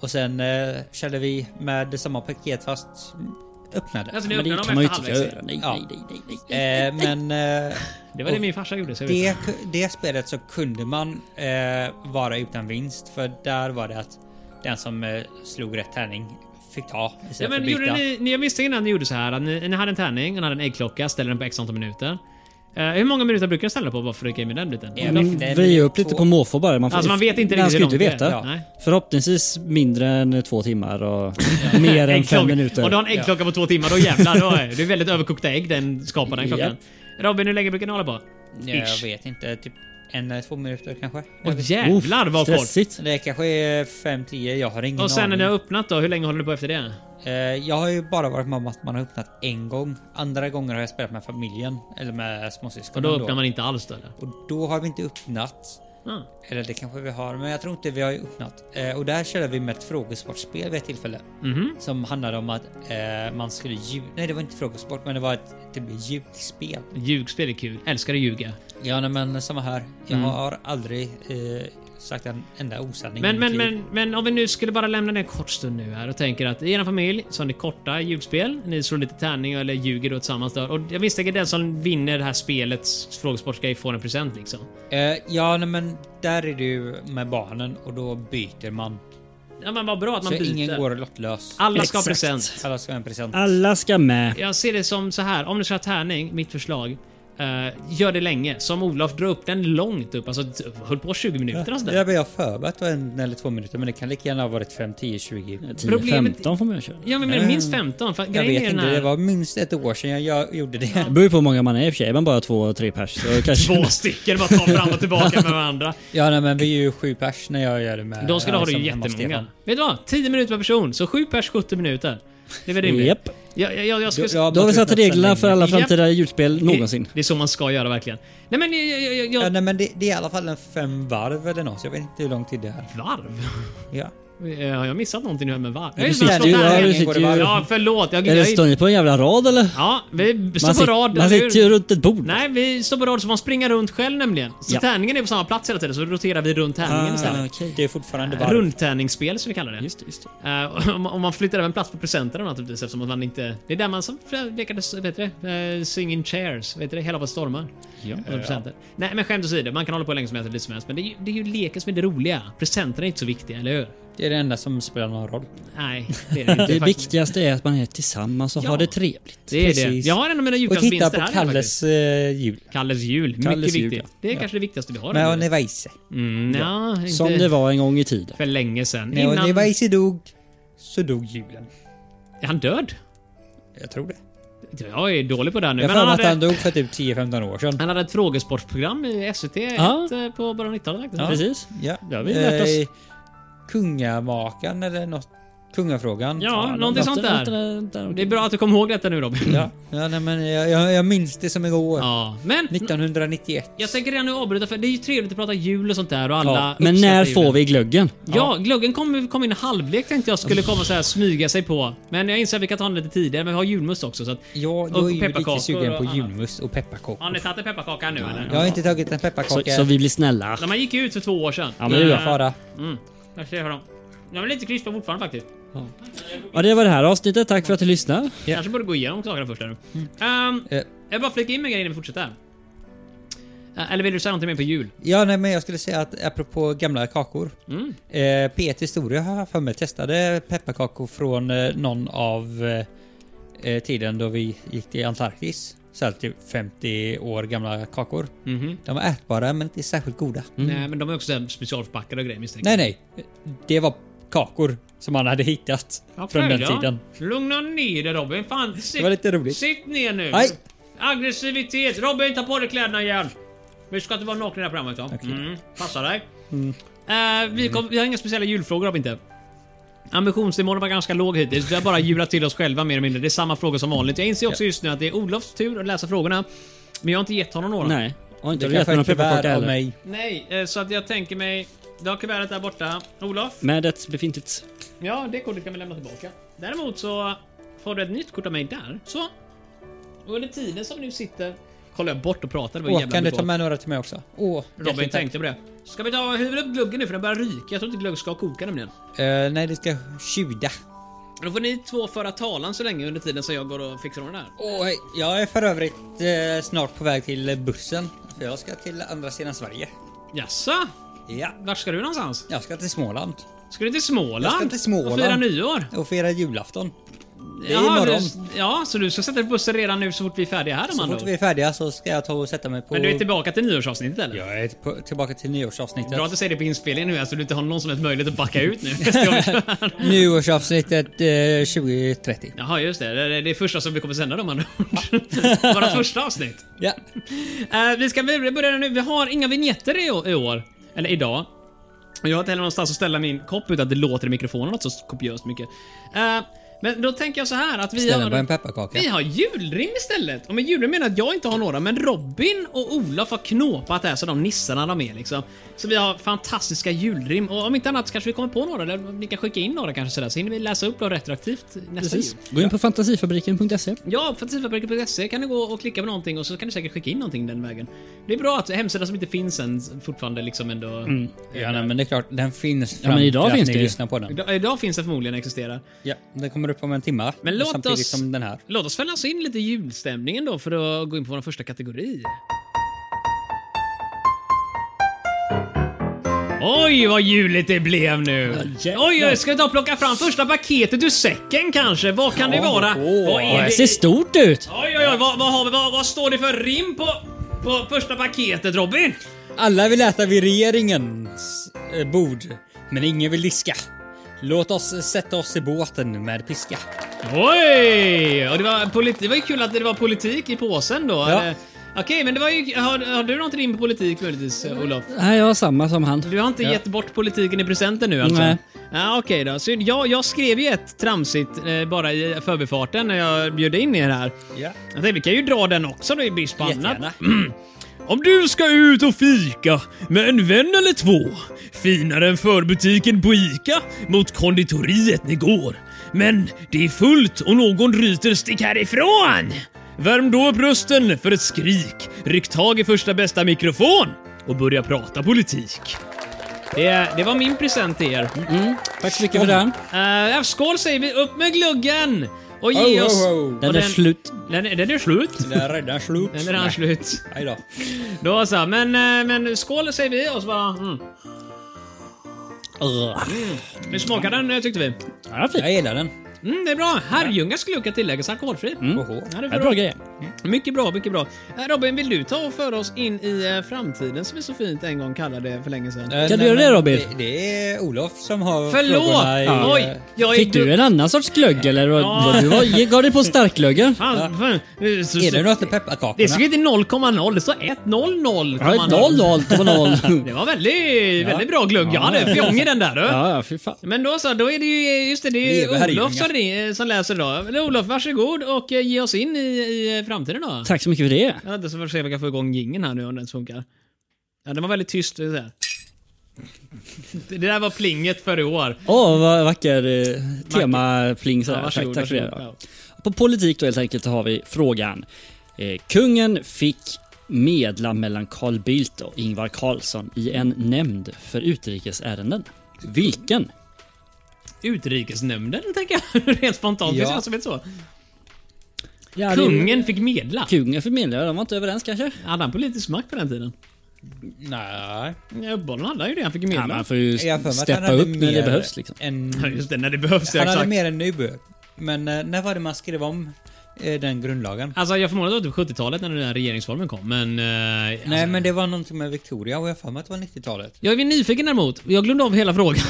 [SPEAKER 2] Och sen eh, körde vi med samma paket fast mm, öppnade.
[SPEAKER 3] Alltså, ni
[SPEAKER 1] Men
[SPEAKER 3] öppnar
[SPEAKER 1] det
[SPEAKER 3] dem
[SPEAKER 1] kan man ju
[SPEAKER 3] efter
[SPEAKER 1] inte
[SPEAKER 3] halvvägs.
[SPEAKER 1] göra. Nej,
[SPEAKER 2] Ja.
[SPEAKER 1] nej, nej, nej, nej.
[SPEAKER 2] Eh, men eh,
[SPEAKER 3] Det var det min farsa gjorde. Så jag vet
[SPEAKER 2] det,
[SPEAKER 3] inte.
[SPEAKER 2] det spelet så kunde man eh, vara utan vinst för där var det att den som eh, slog rätt tärning fick ta
[SPEAKER 3] Ja,
[SPEAKER 2] istället för
[SPEAKER 3] men
[SPEAKER 2] att byta.
[SPEAKER 3] gjorde ni, ni, jag misstänker innan ni gjorde så här att ni, ni hade en tärning, ni hade en äggklocka, ställde den på x antal minuter. Eh, hur många minuter brukar ni ställa på bara för att rycka in med den biten?
[SPEAKER 2] Ja,
[SPEAKER 1] Mm,
[SPEAKER 2] det är
[SPEAKER 1] Vi är upp
[SPEAKER 2] två-
[SPEAKER 1] lite på måfå bara. Man, får-
[SPEAKER 3] Alltså, man vet inte
[SPEAKER 1] Man
[SPEAKER 3] riktigt
[SPEAKER 1] ska
[SPEAKER 3] hur
[SPEAKER 1] ju inte
[SPEAKER 3] långt det är.
[SPEAKER 1] veta.
[SPEAKER 3] Ja. Nej.
[SPEAKER 1] Förhoppningsvis mindre än två timmar och mer än
[SPEAKER 3] Äggklocka.
[SPEAKER 1] fem minuter.
[SPEAKER 3] Och du har en äggklocka på två timmar, då jävlar. Då är det det är väldigt överkokta ägg den skapar den klockan.
[SPEAKER 1] Japp.
[SPEAKER 3] Robin, hur länge brukar ni hålla på?
[SPEAKER 2] Ja, jag
[SPEAKER 3] Ish.
[SPEAKER 2] vet inte, typ en eller två minuter kanske.
[SPEAKER 3] Åh jävlar vad kort!
[SPEAKER 1] Stressigt.
[SPEAKER 2] Det kanske är 5-10, jag har ingen
[SPEAKER 3] Och sen när
[SPEAKER 2] aning.
[SPEAKER 3] ni har öppnat då, hur länge håller ni på efter det?
[SPEAKER 2] Eh, Jag har ju bara varit med om att man har öppnat en gång. Andra gånger har jag spelat med familjen eller med
[SPEAKER 3] Och
[SPEAKER 2] småsyskonen.
[SPEAKER 3] då öppnar man inte alls då eller?
[SPEAKER 2] Och då har vi inte öppnat.
[SPEAKER 3] Ah.
[SPEAKER 2] Eller det kanske vi har, men jag tror inte vi har öppnat. Eh, Och där körde vi med ett frågesportspel vid ett tillfälle.
[SPEAKER 3] Mhm.
[SPEAKER 2] Som handlade om att eh, man skulle ljuga. Nej, det var inte frågesport, men det var ett typ ljugspel.
[SPEAKER 3] Ljugspel är kul. Älskar att ljuga.
[SPEAKER 2] Ja, nej, men samma här. Jag
[SPEAKER 3] Mm.
[SPEAKER 2] har aldrig eh, sagt en enda osanning. i
[SPEAKER 3] Men,
[SPEAKER 2] mitt
[SPEAKER 3] men,
[SPEAKER 2] liv.
[SPEAKER 3] men, men om vi nu skulle bara lämna det en kort stund nu här och tänker att i er familj så har ni korta ljugspel. Ni slår lite tärning eller ljuger då tillsammans. Där. Och jag misstänker den som vinner det här spelets frågesportgrej får en present liksom.
[SPEAKER 2] Eh, ja, nej, men där är du med barnen och då byter man.
[SPEAKER 3] Ja men vad bra att man
[SPEAKER 2] så
[SPEAKER 3] byter. Ah.
[SPEAKER 2] ingen går lottlös.
[SPEAKER 3] Alla ska ha
[SPEAKER 1] Exakt.
[SPEAKER 3] present.
[SPEAKER 2] Alla ska ha en present.
[SPEAKER 1] Alla ska med.
[SPEAKER 3] Jag ser det som så här, om du ska ha tärning, mitt förslag. eh, gör det länge. Som Olof, dra upp den långt upp. Alltså, t- höll på 20 minuter och sådär.
[SPEAKER 2] Det har jag förberett var en eller två minuter men det kan lika gärna ha varit 5, 10, 20.
[SPEAKER 1] 10,
[SPEAKER 3] Problemet-
[SPEAKER 1] 15 får man köra.
[SPEAKER 3] Ja, men men minst 15. För
[SPEAKER 2] Jag
[SPEAKER 3] grejen är
[SPEAKER 2] vet
[SPEAKER 3] den
[SPEAKER 2] inte,
[SPEAKER 3] här-
[SPEAKER 2] det var minst ett år sedan jag gör- gjorde det.
[SPEAKER 1] Det beror ju på hur många man är i och för sig. Är man bara två, tre pers så kanske...
[SPEAKER 3] Två stycken bara ta fram och tillbaka med varandra.
[SPEAKER 2] Ja nej, men vi är ju sju pers när jag gör det med...
[SPEAKER 3] De skulle ha det
[SPEAKER 2] som
[SPEAKER 3] ju
[SPEAKER 2] hemma hos
[SPEAKER 3] jättemånga.
[SPEAKER 2] Stefan.
[SPEAKER 3] Vet du vad? 10 minuter per person, så 7 pers 70 minuter. Det är väl rimligt?
[SPEAKER 1] Japp.
[SPEAKER 3] Jag, jag, jag, jag skulle...
[SPEAKER 2] Då- ja,
[SPEAKER 1] Då har vi
[SPEAKER 2] Något
[SPEAKER 1] satt
[SPEAKER 2] utan
[SPEAKER 1] reglerna
[SPEAKER 2] sändning.
[SPEAKER 1] för alla
[SPEAKER 3] Japp.
[SPEAKER 1] framtida julspel någonsin.
[SPEAKER 3] Det, det är så man ska göra verkligen. Nej men jag... jag, jag,
[SPEAKER 2] Ja,
[SPEAKER 3] jag
[SPEAKER 2] nej, men det, det är i alla fall en fem varv eller något, så jag vet inte hur lång tid det är.
[SPEAKER 3] varv?
[SPEAKER 2] Ja.
[SPEAKER 3] Eh, Har jag missat någonting nu? Men va?
[SPEAKER 1] du
[SPEAKER 3] Eh,
[SPEAKER 1] sitter
[SPEAKER 3] något
[SPEAKER 1] ju-
[SPEAKER 3] här.
[SPEAKER 1] ja, du
[SPEAKER 3] Ingen
[SPEAKER 1] sitter
[SPEAKER 3] går det varv.
[SPEAKER 1] ju-
[SPEAKER 3] Ja, förlåt. Jag,
[SPEAKER 1] Eller
[SPEAKER 3] jag,
[SPEAKER 1] står ni på en jävla rad eller?
[SPEAKER 3] ja, vi står
[SPEAKER 1] Man,
[SPEAKER 3] på
[SPEAKER 1] sit,
[SPEAKER 3] rad.
[SPEAKER 1] man
[SPEAKER 3] eller hur?
[SPEAKER 1] sitter ju runt ett bord.
[SPEAKER 3] Nej, vi står på rad så man springer runt själv nämligen. Så
[SPEAKER 1] Ja.
[SPEAKER 3] tärningen är på samma plats hela tiden, så roterar vi runt tärningen
[SPEAKER 1] ah,
[SPEAKER 3] istället.
[SPEAKER 1] okej.
[SPEAKER 2] Det är fortfarande varv.
[SPEAKER 3] Rundtärningsspel som vi kallar det.
[SPEAKER 1] Just det, just det.
[SPEAKER 3] Eh, om, om man flyttar även plats på presenterna naturligtvis eftersom att man inte... Det är där man som lekade, vet du det? Eh, Singing chairs, vet du det? Hela på stormar. Ja. Presenter. Nej men skämt åsido, man kan hålla på hur länge som helst eller lite som helst. Men det är, ju, det är ju leken som är det roliga. Presenterna är inte så viktiga, eller hur?
[SPEAKER 2] Det är det enda som spelar någon roll.
[SPEAKER 3] Typ, Nej, det är det inte.
[SPEAKER 1] Det
[SPEAKER 3] faktiskt.
[SPEAKER 1] viktigaste är att man är tillsammans och
[SPEAKER 3] Ja.
[SPEAKER 1] har det trevligt.
[SPEAKER 3] Det är
[SPEAKER 2] Precis.
[SPEAKER 3] det. Jag har en av mina
[SPEAKER 2] Och titta
[SPEAKER 3] julklappsvinster
[SPEAKER 2] på
[SPEAKER 3] här nu, faktiskt.
[SPEAKER 2] Kalles eh, jul.
[SPEAKER 3] Kalles jul.
[SPEAKER 1] Kalles
[SPEAKER 3] Mycket
[SPEAKER 1] jul,
[SPEAKER 3] viktigt.
[SPEAKER 1] ja.
[SPEAKER 3] Det är kanske det viktigaste vi har.
[SPEAKER 2] När
[SPEAKER 3] nu.
[SPEAKER 2] ni var ise.
[SPEAKER 3] Mm, ja, inte
[SPEAKER 1] Som det var en gång i tiden.
[SPEAKER 3] för länge sedan.
[SPEAKER 2] När ni
[SPEAKER 3] Innan...
[SPEAKER 2] var ise dog, så dog julen.
[SPEAKER 3] Är han död?
[SPEAKER 2] Jag tror det.
[SPEAKER 3] Jag är dålig på det här nu.
[SPEAKER 2] Jag
[SPEAKER 3] Men
[SPEAKER 2] har
[SPEAKER 3] han
[SPEAKER 2] för mig att
[SPEAKER 3] hade,
[SPEAKER 2] han dog för typ 10-15 år sedan.
[SPEAKER 3] han hade ett frågesportprogram i SVT
[SPEAKER 1] Ja.
[SPEAKER 3] ett, eh, på början av 90-talet. faktiskt.
[SPEAKER 1] Precis.
[SPEAKER 2] Ja.
[SPEAKER 1] Det har vi lärt oss.
[SPEAKER 2] Eh, kungamakan eller något. Kungafrågan.
[SPEAKER 3] Ja, någonting sånt där.
[SPEAKER 1] där.
[SPEAKER 3] Det är bra att du kom ihåg detta nu Robin.
[SPEAKER 2] Ja, alltså. ja nej, men jag, jag, jag minns det som igår.
[SPEAKER 3] Ja, Men
[SPEAKER 2] 1991.
[SPEAKER 3] jag tänker redan nu avbryta för det är ju trevligt att prata jul och sånt där och alla
[SPEAKER 1] Ja, men
[SPEAKER 3] uppskattar
[SPEAKER 1] när
[SPEAKER 3] julen.
[SPEAKER 1] får vi glöggen?
[SPEAKER 3] Ja, glöggen kom, kom in i halvlek tänkte jag skulle komma så här smyga sig på. Men jag inser att vi kan ta den lite tidigare, men vi har julmust också så att...
[SPEAKER 2] Ja,
[SPEAKER 3] Och
[SPEAKER 2] jag är ju
[SPEAKER 3] pepparkakor
[SPEAKER 2] lite sugen på
[SPEAKER 3] och annat.
[SPEAKER 2] julmust och pepparkakor.
[SPEAKER 3] Har ni tagit en pepparkaka nu eller?
[SPEAKER 2] Jag har inte tagit en
[SPEAKER 1] Så,
[SPEAKER 2] pepparkaka.
[SPEAKER 1] så vi blir snälla.
[SPEAKER 3] De här gick ju ut för två år sedan.
[SPEAKER 1] Ja, men
[SPEAKER 2] Det är
[SPEAKER 1] det är
[SPEAKER 2] ingen
[SPEAKER 1] bra.
[SPEAKER 2] fara.
[SPEAKER 3] Mm. Jag ser hur de... De är lite krispa fortfarande faktiskt.
[SPEAKER 1] Ja, det var det här avsnittet. Tack för att du lyssnade.
[SPEAKER 2] Ja.
[SPEAKER 3] Kanske borde gå igenom sakerna först. Här. nu. Ehm,
[SPEAKER 2] Eh.
[SPEAKER 3] Jag bara flika in mig innan vi fortsätter. Eh, eller vill du säga någonting mer på jul?
[SPEAKER 2] Ja, nej, men jag skulle säga att apropå gamla kakor.
[SPEAKER 3] Mm.
[SPEAKER 2] Eh, P1 Historia har jag för mig testade pepparkakor från eh, någon av eh, eh, tiden då vi gick till Antarktis. Så här typ 50 år gamla kakor.
[SPEAKER 3] Mhm.
[SPEAKER 2] De var ätbara men inte särskilt goda.
[SPEAKER 3] Nej, men de är också så här specialförpackade och grejer misstänker
[SPEAKER 2] Nej, nej. Det var kakor som man hade hittat
[SPEAKER 3] jag.
[SPEAKER 2] från
[SPEAKER 3] Okej
[SPEAKER 2] den
[SPEAKER 3] då.
[SPEAKER 2] tiden.
[SPEAKER 3] Lugna ner dig Robin. Fan, sitt,
[SPEAKER 2] Det var lite roligt.
[SPEAKER 3] sitt ner nu.
[SPEAKER 2] Aj.
[SPEAKER 3] Aggressivitet. Robin, ta på dig kläderna igen. Vi ska inte vara nakna i det här programmet. va? Mm. Passa dig.
[SPEAKER 2] Mm.
[SPEAKER 3] Eh, vi, kom, vi har inga speciella julfrågor Robin inte. Ambitionsnivån var ganska låg hittills. Vi har bara hjulat till oss själva mer eller mindre. Det är samma frågor som vanligt. Jag inser också just nu att det är Olofs tur att läsa frågorna. Men jag har inte gett honom några.
[SPEAKER 1] Nej. Har inte
[SPEAKER 2] Det
[SPEAKER 1] du gett mig
[SPEAKER 2] kanske är
[SPEAKER 1] någon
[SPEAKER 2] ett
[SPEAKER 1] pepparkaka
[SPEAKER 2] kuvert av
[SPEAKER 1] heller?
[SPEAKER 2] mig.
[SPEAKER 3] Nej, eh, så att jag tänker mig... Du har kuvertet där borta. Olof?
[SPEAKER 1] Med ett befintligt...
[SPEAKER 3] Ja, det kortet kan vi lämna tillbaka. Däremot så får du ett nytt kort av mig där. Så. Och under tiden som vi nu sitter kollar jag bort och pratar. Det var
[SPEAKER 2] Åh,
[SPEAKER 3] jävla
[SPEAKER 2] kan du
[SPEAKER 3] mycket
[SPEAKER 2] ta
[SPEAKER 3] bra.
[SPEAKER 2] med några till mig också? Åh,
[SPEAKER 3] Robin
[SPEAKER 2] hjärtligt tack.
[SPEAKER 3] tänkte på det. Ska vi ta huvudet upp glöggen nu för den börjar ryka. Jag tror inte glögg ska koka nämligen.
[SPEAKER 2] Eh, nej, det ska tjuda.
[SPEAKER 3] Då får ni två föra talan så länge under tiden som jag går och fixar ordning här.
[SPEAKER 2] Och eh, jag är för övrigt eh, snart på väg till eh, bussen. För jag ska till andra sidan Sverige.
[SPEAKER 3] Jaså?
[SPEAKER 2] Ja.
[SPEAKER 3] Vart ska du någonstans?
[SPEAKER 2] Jag ska till Småland.
[SPEAKER 3] Ska du till Småland?
[SPEAKER 2] Jag ska till Småland.
[SPEAKER 3] Och fira nyår?
[SPEAKER 2] Och fira julafton. Det är
[SPEAKER 3] Jaha,
[SPEAKER 2] imorgon.
[SPEAKER 3] Du, ja, så du ska sätta dig på bussen redan nu så fort vi är färdiga här
[SPEAKER 2] Så
[SPEAKER 3] man
[SPEAKER 2] fort vi är färdiga så ska jag ta och sätta mig på...
[SPEAKER 3] Men du är tillbaka till nyårsavsnittet eller?
[SPEAKER 2] Jag är på, tillbaka till nyårsavsnittet.
[SPEAKER 3] Bra att du säger det på inspelningen nu så du inte har någon som helst möjlighet att backa ut nu. Nästa gång vi kör.
[SPEAKER 2] Nyårsavsnittet eh, 2030.
[SPEAKER 3] Jaha, just det. Det är det första som vi kommer sända dem andra ord. Vårat första avsnitt.
[SPEAKER 2] Ja.
[SPEAKER 3] Eh, vi ska börja börja nu. Vi har inga vignetter i å- i år. Eller idag. Och Jag har inte heller någonstans att ställa min kopp utan att det låter i mikrofonen något så kopiöst mycket. Eh, men då tänker jag så här att vi
[SPEAKER 2] Ställer
[SPEAKER 3] har,
[SPEAKER 2] på en pepparkaka.
[SPEAKER 3] vi har julrim istället. Och med julrim menar jag att jag inte har några, men Robin och Olof har knåpat det här så de nissarna de är liksom. Så vi har fantastiska julrim och om inte annat så kanske vi kommer på några. Eller ni kan skicka in några kanske sådär så hinner vi läsa upp dem retroaktivt nästa jul.
[SPEAKER 1] Precis. Gå in på fantasifabriken.se.
[SPEAKER 3] Ja, fantasifabriken.se kan du gå och klicka på någonting och så kan du säkert skicka in någonting den vägen. Det är bra att hemsidan som inte finns än fortfarande liksom ändå...
[SPEAKER 2] Ja, nej, men det är klart, den finns fram
[SPEAKER 1] men idag
[SPEAKER 2] till
[SPEAKER 1] finns
[SPEAKER 2] att
[SPEAKER 1] det
[SPEAKER 2] ni
[SPEAKER 1] ju.
[SPEAKER 2] lyssnar på den.
[SPEAKER 3] Idag, idag finns den förmodligen existerar.
[SPEAKER 2] Ja, den kommer upp om en timme.
[SPEAKER 3] Men låt
[SPEAKER 2] samtidigt
[SPEAKER 3] oss-
[SPEAKER 2] som den här.
[SPEAKER 3] Låt oss fälla oss in lite i julstämningen då för att gå in på vår första kategori. Oj, vad juligt det blev nu!
[SPEAKER 1] jävlar.
[SPEAKER 3] Oj, oj, ska vi ta och plocka fram första paketet ur säcken kanske? Vad kan det vara? vad
[SPEAKER 1] Det
[SPEAKER 3] är
[SPEAKER 1] här
[SPEAKER 3] det?
[SPEAKER 1] ser stort ut!
[SPEAKER 3] Oj, oj, oj, vad, vad, har vi, vad, vad står det för rim på, på första paketet Robin?
[SPEAKER 2] Alla vill äta vid regeringens eh, bord, men ingen vill diska. Låt oss sätta oss i båten med piska.
[SPEAKER 3] Oj! Och det, var politi- det var ju kul att det var politik i påsen då.
[SPEAKER 2] Ja.
[SPEAKER 3] Eh, Okej, men det var ju... Har, har du något in på politik möjligtvis, eh, Olof?
[SPEAKER 1] Nej, jag har samma som han.
[SPEAKER 3] Du har inte gett bort politiken i presenten nu alltså?
[SPEAKER 1] Nej.
[SPEAKER 3] Ja, Okej då. Så jag, jag skrev ju ett tramsigt eh, bara i förbifarten när jag bjöd in er här.
[SPEAKER 2] Ja.
[SPEAKER 3] Jag tänkte vi kan ju dra den också då i brist på annat.
[SPEAKER 2] Jättegärna.
[SPEAKER 3] Mm.
[SPEAKER 5] Om du ska ut och fika med en vän eller två, finare än förbutiken på ICA mot konditoriet ni går. Men det är fullt och någon ryter stick härifrån. Värm då upp rösten för ett skrik, ryck tag i första bästa mikrofon och börja prata politik.
[SPEAKER 3] Det, det var min present till er.
[SPEAKER 1] Tack så mycket för den.
[SPEAKER 3] Eh, skål säger vi, upp med gluggen! Och ge
[SPEAKER 2] Oh, oh,
[SPEAKER 3] oss...
[SPEAKER 2] oh.
[SPEAKER 3] och
[SPEAKER 1] Den är slut.
[SPEAKER 3] Den, är- den är slut.
[SPEAKER 2] Det är redan slut.
[SPEAKER 3] Den är redan slut.
[SPEAKER 2] Nej då.
[SPEAKER 3] Då så, men, eh, men skål säger vi och så bara... Mm. Hur smakar den eh, tyckte vi?
[SPEAKER 2] Jag gillar den.
[SPEAKER 3] Mm, det är bra. Herrljungas glugg kan tilläggas alkoholfri. Mm.
[SPEAKER 2] Oho.
[SPEAKER 3] Ja, det är
[SPEAKER 1] Det är
[SPEAKER 3] bra.
[SPEAKER 1] bra grejer.
[SPEAKER 3] Mycket bra, mycket bra. Eh, Robin, vill du ta och föra oss in i eh, framtiden som vi så fint en gång kallade det för länge sedan?
[SPEAKER 2] Eh,
[SPEAKER 1] Kan du
[SPEAKER 2] nej,
[SPEAKER 1] göra det,
[SPEAKER 2] men
[SPEAKER 1] Robin?
[SPEAKER 2] Det, det är Olof som har
[SPEAKER 3] Förlåt!
[SPEAKER 2] frågorna i...
[SPEAKER 3] Oj! Jag är
[SPEAKER 1] Fick du en annan sorts glögg eller? vad-
[SPEAKER 3] Ja.
[SPEAKER 1] vad Du var, gav dig på starklöggen?
[SPEAKER 3] Fan, fan. Eh, så-
[SPEAKER 2] Är
[SPEAKER 3] så-
[SPEAKER 2] det något med
[SPEAKER 3] Det
[SPEAKER 2] pepparkakorna?
[SPEAKER 3] stod inte 0,0, det stod 1,00.
[SPEAKER 1] Ja, ett noll, noll, två, noll.
[SPEAKER 3] Det var väldigt, väldigt bra glugg. Jag hade fjong i den där du.
[SPEAKER 1] Ja, ja, fy fan.
[SPEAKER 3] Men då så, då är det ju, just det, det är
[SPEAKER 2] Leve
[SPEAKER 3] ju
[SPEAKER 2] Herrljunga.
[SPEAKER 3] Olof som, ring- som läser idag. Men Olof, varsågod och eh, ge oss in i, i eh, framtiden då.
[SPEAKER 1] Tack så mycket för det.
[SPEAKER 3] Jag vet inte så får se om jag kan få igång gingen här nu om den ens funkar. Ja, den var väldigt tyst. Det, är så här. det där var plinget för i år.
[SPEAKER 1] Åh, vad vacker eh, temafling
[SPEAKER 3] Ja,
[SPEAKER 1] sådär. tack, tack för det.
[SPEAKER 3] varsågod.
[SPEAKER 1] Ja. På politik då helt enkelt så har vi frågan. Eh, kungen fick medla mellan Carl Bildt och Ingvar Carlsson i en nämnd för utrikesärenden. Vilken?
[SPEAKER 3] Ja. Utrikesnämnden, tänker jag. Rent spontant.
[SPEAKER 2] Ja.
[SPEAKER 3] Det känns som ett så.
[SPEAKER 1] Ja, det-
[SPEAKER 3] Kungen fick medla.
[SPEAKER 1] Kungen för medla, de var inte överens kanske?
[SPEAKER 3] Hade han politisk makt på den tiden?
[SPEAKER 2] Nej.
[SPEAKER 3] Ja, Uppenbarligen hade han ju det. Han fick ju
[SPEAKER 1] Ja,
[SPEAKER 3] medla.
[SPEAKER 1] man får ju
[SPEAKER 2] Jag har för mig att han
[SPEAKER 1] steppa
[SPEAKER 2] hade
[SPEAKER 1] upp när det
[SPEAKER 2] mer
[SPEAKER 1] behövs liksom.
[SPEAKER 2] än-
[SPEAKER 3] Ja, just det. När det behövs, ja,
[SPEAKER 2] han hade
[SPEAKER 3] exakt.
[SPEAKER 2] mer än nu. Men eh, när var det man skrev om eh, den grundlagen?
[SPEAKER 3] Alltså jag förmodar att det var typ 70-talet när den där regeringsformen kom, men... eh, alltså,
[SPEAKER 2] Nej men det var någonting med Victoria och jag har för mig att det var 90-talet.
[SPEAKER 3] Jag är nyfiken däremot. Jag glömde av hela frågan.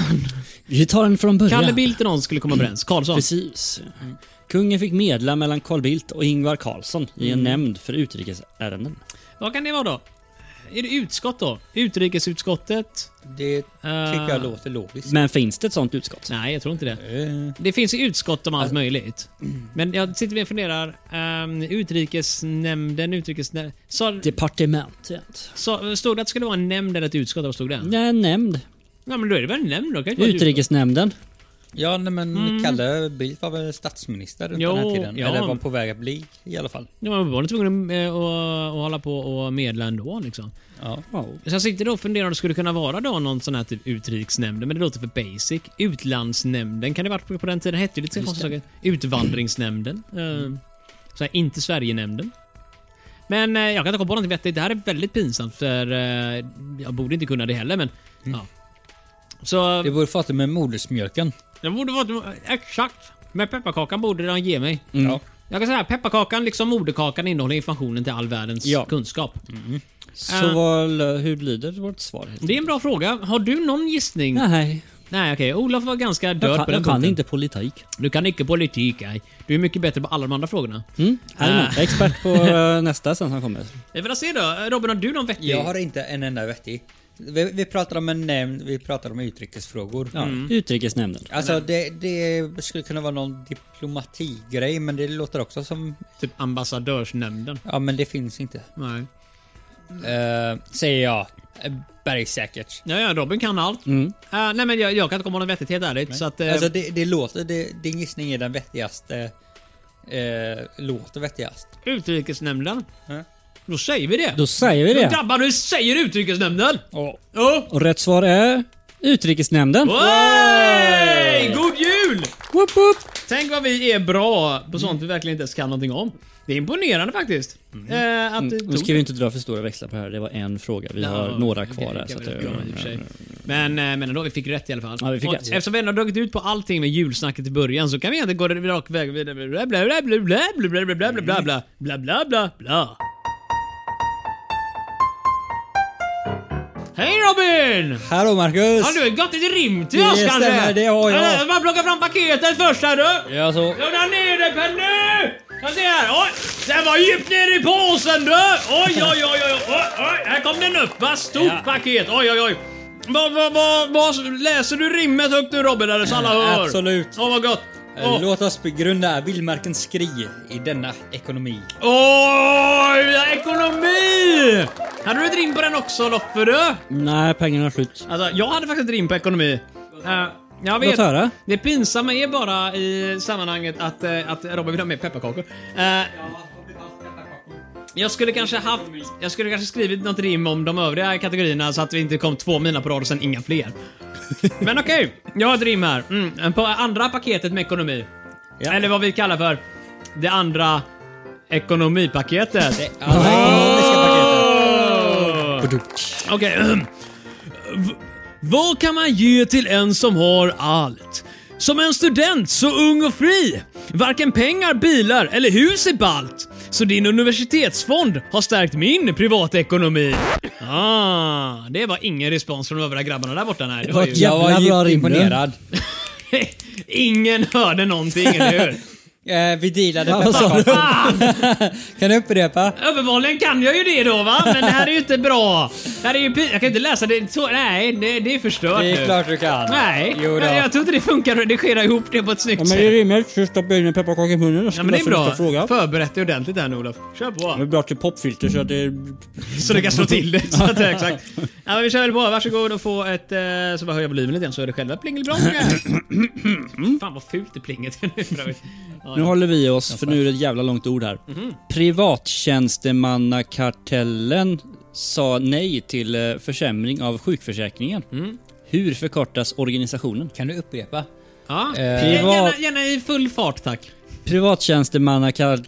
[SPEAKER 1] Vi tar den från början.
[SPEAKER 3] Kalle Bildt och någon skulle komma överens. Karlsson.
[SPEAKER 1] Precis. Kungen fick medla mellan Carl Bildt och Ingvar Carlsson i en nämnd för utrikesärenden.
[SPEAKER 3] Vad kan det vara då? Är det utskott då? Utrikesutskottet?
[SPEAKER 2] Det tycker
[SPEAKER 3] Eh,
[SPEAKER 2] jag låter logiskt.
[SPEAKER 1] Men finns det ett sånt utskott?
[SPEAKER 3] Nej, jag tror inte det.
[SPEAKER 2] Eh,
[SPEAKER 3] Det finns ju utskott om allt möjligt. Men jag sitter och funderar. Um, utrikesnämnden, utrikesnämnden... Sa,
[SPEAKER 1] Departementet.
[SPEAKER 3] sa, stod det att det skulle vara en nämnd eller ett utskott? Vad stod det?
[SPEAKER 1] Nej, en nämnd.
[SPEAKER 3] Ja, men då är det väl en nämnd då? Kan det inte vara ett
[SPEAKER 1] Utrikesnämnden.
[SPEAKER 2] ja nej, men Kalle Bildt var väl statsminister runt
[SPEAKER 3] Mm. Jo,
[SPEAKER 2] den här tiden?
[SPEAKER 3] ja.
[SPEAKER 2] Eller var på väg att bli i alla fall.
[SPEAKER 3] Ja, man var tvungen att, eh, att, att hålla på och medla ändå liksom.
[SPEAKER 2] Ja.
[SPEAKER 3] Så jag sitter då och funderar om det skulle kunna vara då någon sån här typ utrikesnämnden, men det låter för basic. Utlandsnämnden kan det varit på, på den tiden. Hette ju lite så konstiga saker. Utvandringsnämnden.
[SPEAKER 1] Mm.
[SPEAKER 3] Eh, så här, inte Sverigenämnden. Men eh, jag kan inte komma på något vettigt. Det här är väldigt pinsamt för eh, jag borde inte kunna det heller men...
[SPEAKER 1] Mm.
[SPEAKER 3] Ja. Så...
[SPEAKER 2] Det borde fatta med modersmjölken.
[SPEAKER 3] Det borde vara... Exakt! Men pepparkakan borde de ge mig.
[SPEAKER 1] Mm.
[SPEAKER 2] Ja.
[SPEAKER 3] Jag kan säga att pepparkakan, liksom moderkakan, innehåller informationen till all världens
[SPEAKER 1] Ja. Mm.
[SPEAKER 3] kunskap.
[SPEAKER 1] Så
[SPEAKER 3] Eh.
[SPEAKER 1] vad, hur lyder vårt svar?
[SPEAKER 3] Det är en bra fråga. Har du någon gissning?
[SPEAKER 1] Nej,
[SPEAKER 3] Nej, okej. Olof var ganska
[SPEAKER 1] jag
[SPEAKER 3] död
[SPEAKER 1] kan,
[SPEAKER 3] på den
[SPEAKER 1] jag kan
[SPEAKER 3] punkten.
[SPEAKER 1] inte politik.
[SPEAKER 3] Du kan icke politik, nej. Du är mycket bättre på alla de andra frågorna.
[SPEAKER 1] Mm? Jajamän. Jag är expert på eh, nästa sen som kommer.
[SPEAKER 3] Eh, Jag vill se då. Robin, har du någon vettig?
[SPEAKER 2] Jag har inte en enda vettig. Vi, vi pratar om en nämnd, vi pratar om utrikesfrågor.
[SPEAKER 1] Ja.
[SPEAKER 3] Mm.
[SPEAKER 1] Utrikesnämnden.
[SPEAKER 2] Alltså det, det skulle kunna vara någon diplomatigrej men det låter också som...
[SPEAKER 3] Typ ambassadörsnämnden.
[SPEAKER 2] Ja men det finns inte.
[SPEAKER 3] Nej.
[SPEAKER 2] Eh, säger jag. Eh, Bergsäkert.
[SPEAKER 3] Ja, ja, Robin kan allt.
[SPEAKER 1] Mm.
[SPEAKER 3] Eh, nej, men jag, jag kan inte komma på någon vettigt helt ärligt. Så att, eh,
[SPEAKER 2] Alltså det, det låter, det, din gissning är den vettigaste. Eh, låter vettigast.
[SPEAKER 3] Utrikesnämnden.
[SPEAKER 2] Mm.
[SPEAKER 3] Då säger vi det.
[SPEAKER 1] Då säger vi
[SPEAKER 3] Då
[SPEAKER 1] det.
[SPEAKER 3] drabbar du säger utrikesnämnden!
[SPEAKER 2] Ja.
[SPEAKER 3] Oh.
[SPEAKER 1] Och rätt svar är Utrikesnämnden.
[SPEAKER 3] Hey! God jul!
[SPEAKER 1] Woop, woop.
[SPEAKER 3] Tänk vad vi är bra på sånt vi verkligen inte ens kan någonting om. Det är imponerande faktiskt. Eh, att
[SPEAKER 1] Mm.
[SPEAKER 3] du
[SPEAKER 1] Nu
[SPEAKER 3] tog
[SPEAKER 1] ska vi inte dra för stora växlar på det här. Det var en fråga. Vi har några kvar här. Så att,
[SPEAKER 3] jag... Men, eh, men ändå, vi fick rätt i alla fall.
[SPEAKER 1] Ja, vi fick
[SPEAKER 3] och
[SPEAKER 1] rätt.
[SPEAKER 3] Eftersom vi ändå har dragit ut på allting med julsnacket i början så kan vi egentligen gå den rak väg vidare. Bla bla bla bla bla bla bla bla bla bla bla bla bla bla bla. Hej Robin!
[SPEAKER 2] Hallå Marcus!
[SPEAKER 3] Har du ett gott litet rim till oss
[SPEAKER 2] Det
[SPEAKER 3] kanske?
[SPEAKER 2] stämmer, det har jag.
[SPEAKER 3] Eh, Man plockar fram paketet först här du.
[SPEAKER 2] Ja, så.
[SPEAKER 3] Lugna ner dig Penny! Jag ser här, oj! Den var djupt ner i påsen du! Oj, oj, oj, oj, oj, oj. här kom den upp va? Stort paket, oj, oj, oj. Vad, vad, vad, vad, läser du rimmet högt nu Robin, eller så alla hör?
[SPEAKER 2] Absolut.
[SPEAKER 3] Åh vad gott.
[SPEAKER 2] Eh, Låt oss begrunda vildmarkens skri i denna ekonomi.
[SPEAKER 3] Åh, ekonomi! Hade du ett rim på den också Loffe du?
[SPEAKER 1] Nej, pengarna är slut.
[SPEAKER 3] Alltså, jag hade faktiskt ett rim på ekonomi. Eh, jag vet.
[SPEAKER 1] Låt höra.
[SPEAKER 3] Det pinsamma är bara i sammanhanget att, eh, att Robin vill ha med pepparkakor. Eh, jag skulle kanske haft... Jag skulle kanske skrivit något rim om de övriga kategorierna så att vi inte kom två mina på rad och sen inga fler. Men okej, jag har ett rim här. Mm, på andra paketet med ekonomi. Eller vad vi kallar för det andra ekonomipaketet.
[SPEAKER 2] Det alla ekonomiska paketet.
[SPEAKER 5] Okej. ehm. V- Vad kan man ge till en som har allt? Som en student, så ung och fri. Varken pengar, bilar eller hus är ballt. Så din universitetsfond har stärkt min privatekonomi.
[SPEAKER 3] Ah, det var ingen respons från de övriga grabbarna där borta. Nej, det var
[SPEAKER 1] var
[SPEAKER 3] ju...
[SPEAKER 1] ett jävla
[SPEAKER 2] Jag var
[SPEAKER 1] bra
[SPEAKER 2] djupt
[SPEAKER 1] rim, du.
[SPEAKER 2] imponerad.
[SPEAKER 3] ingen hörde någonting, eller hur?
[SPEAKER 2] Eh, vi dealade
[SPEAKER 1] vad sa
[SPEAKER 2] pepparkakor.
[SPEAKER 3] Fan!
[SPEAKER 2] Kan du upprepa?
[SPEAKER 3] Uppenbarligen kan jag ju det då va, men det här är ju inte bra. Det här är ju pi- Jag kan inte läsa det. Så, nej, det, det är förstört
[SPEAKER 2] Det
[SPEAKER 3] nu.
[SPEAKER 2] är klart du kan.
[SPEAKER 3] Nej,
[SPEAKER 2] Jo då.
[SPEAKER 3] jag, jag tror inte det funkar att redigera ihop det på ett snyggt
[SPEAKER 1] Ja, men det är
[SPEAKER 3] sätt.
[SPEAKER 1] rimligt. Så stoppar jag in en pepparkaka i munnen och
[SPEAKER 3] Ja, men det är bra.
[SPEAKER 1] fråga.
[SPEAKER 3] Förberett dig ordentligt här nu Olof. Kör
[SPEAKER 1] Det är
[SPEAKER 3] på.
[SPEAKER 1] bra till popfilter så att det är...
[SPEAKER 3] Så du kan slå till det. Så att, det- exakt. Ja, men vi kör väl på. Varsågod och få ett... Eh, så bara höjer jag volymen lite grann så är det själva plingelblonga. Fan vad fult det plinget är nu för övrigt. Ja,
[SPEAKER 1] Nu håller vi oss, för nu är det ett jävla långt ord här.
[SPEAKER 3] Mhm.
[SPEAKER 1] Privattjänstemannakartellen sa nej till eh, försämring av sjukförsäkringen.
[SPEAKER 3] Mm.
[SPEAKER 1] Hur förkortas organisationen?
[SPEAKER 2] Kan du upprepa?
[SPEAKER 3] Ja.
[SPEAKER 1] Eh, privat-
[SPEAKER 3] Gärna, gärna i full fart tack.
[SPEAKER 1] Privattjänstemannakar...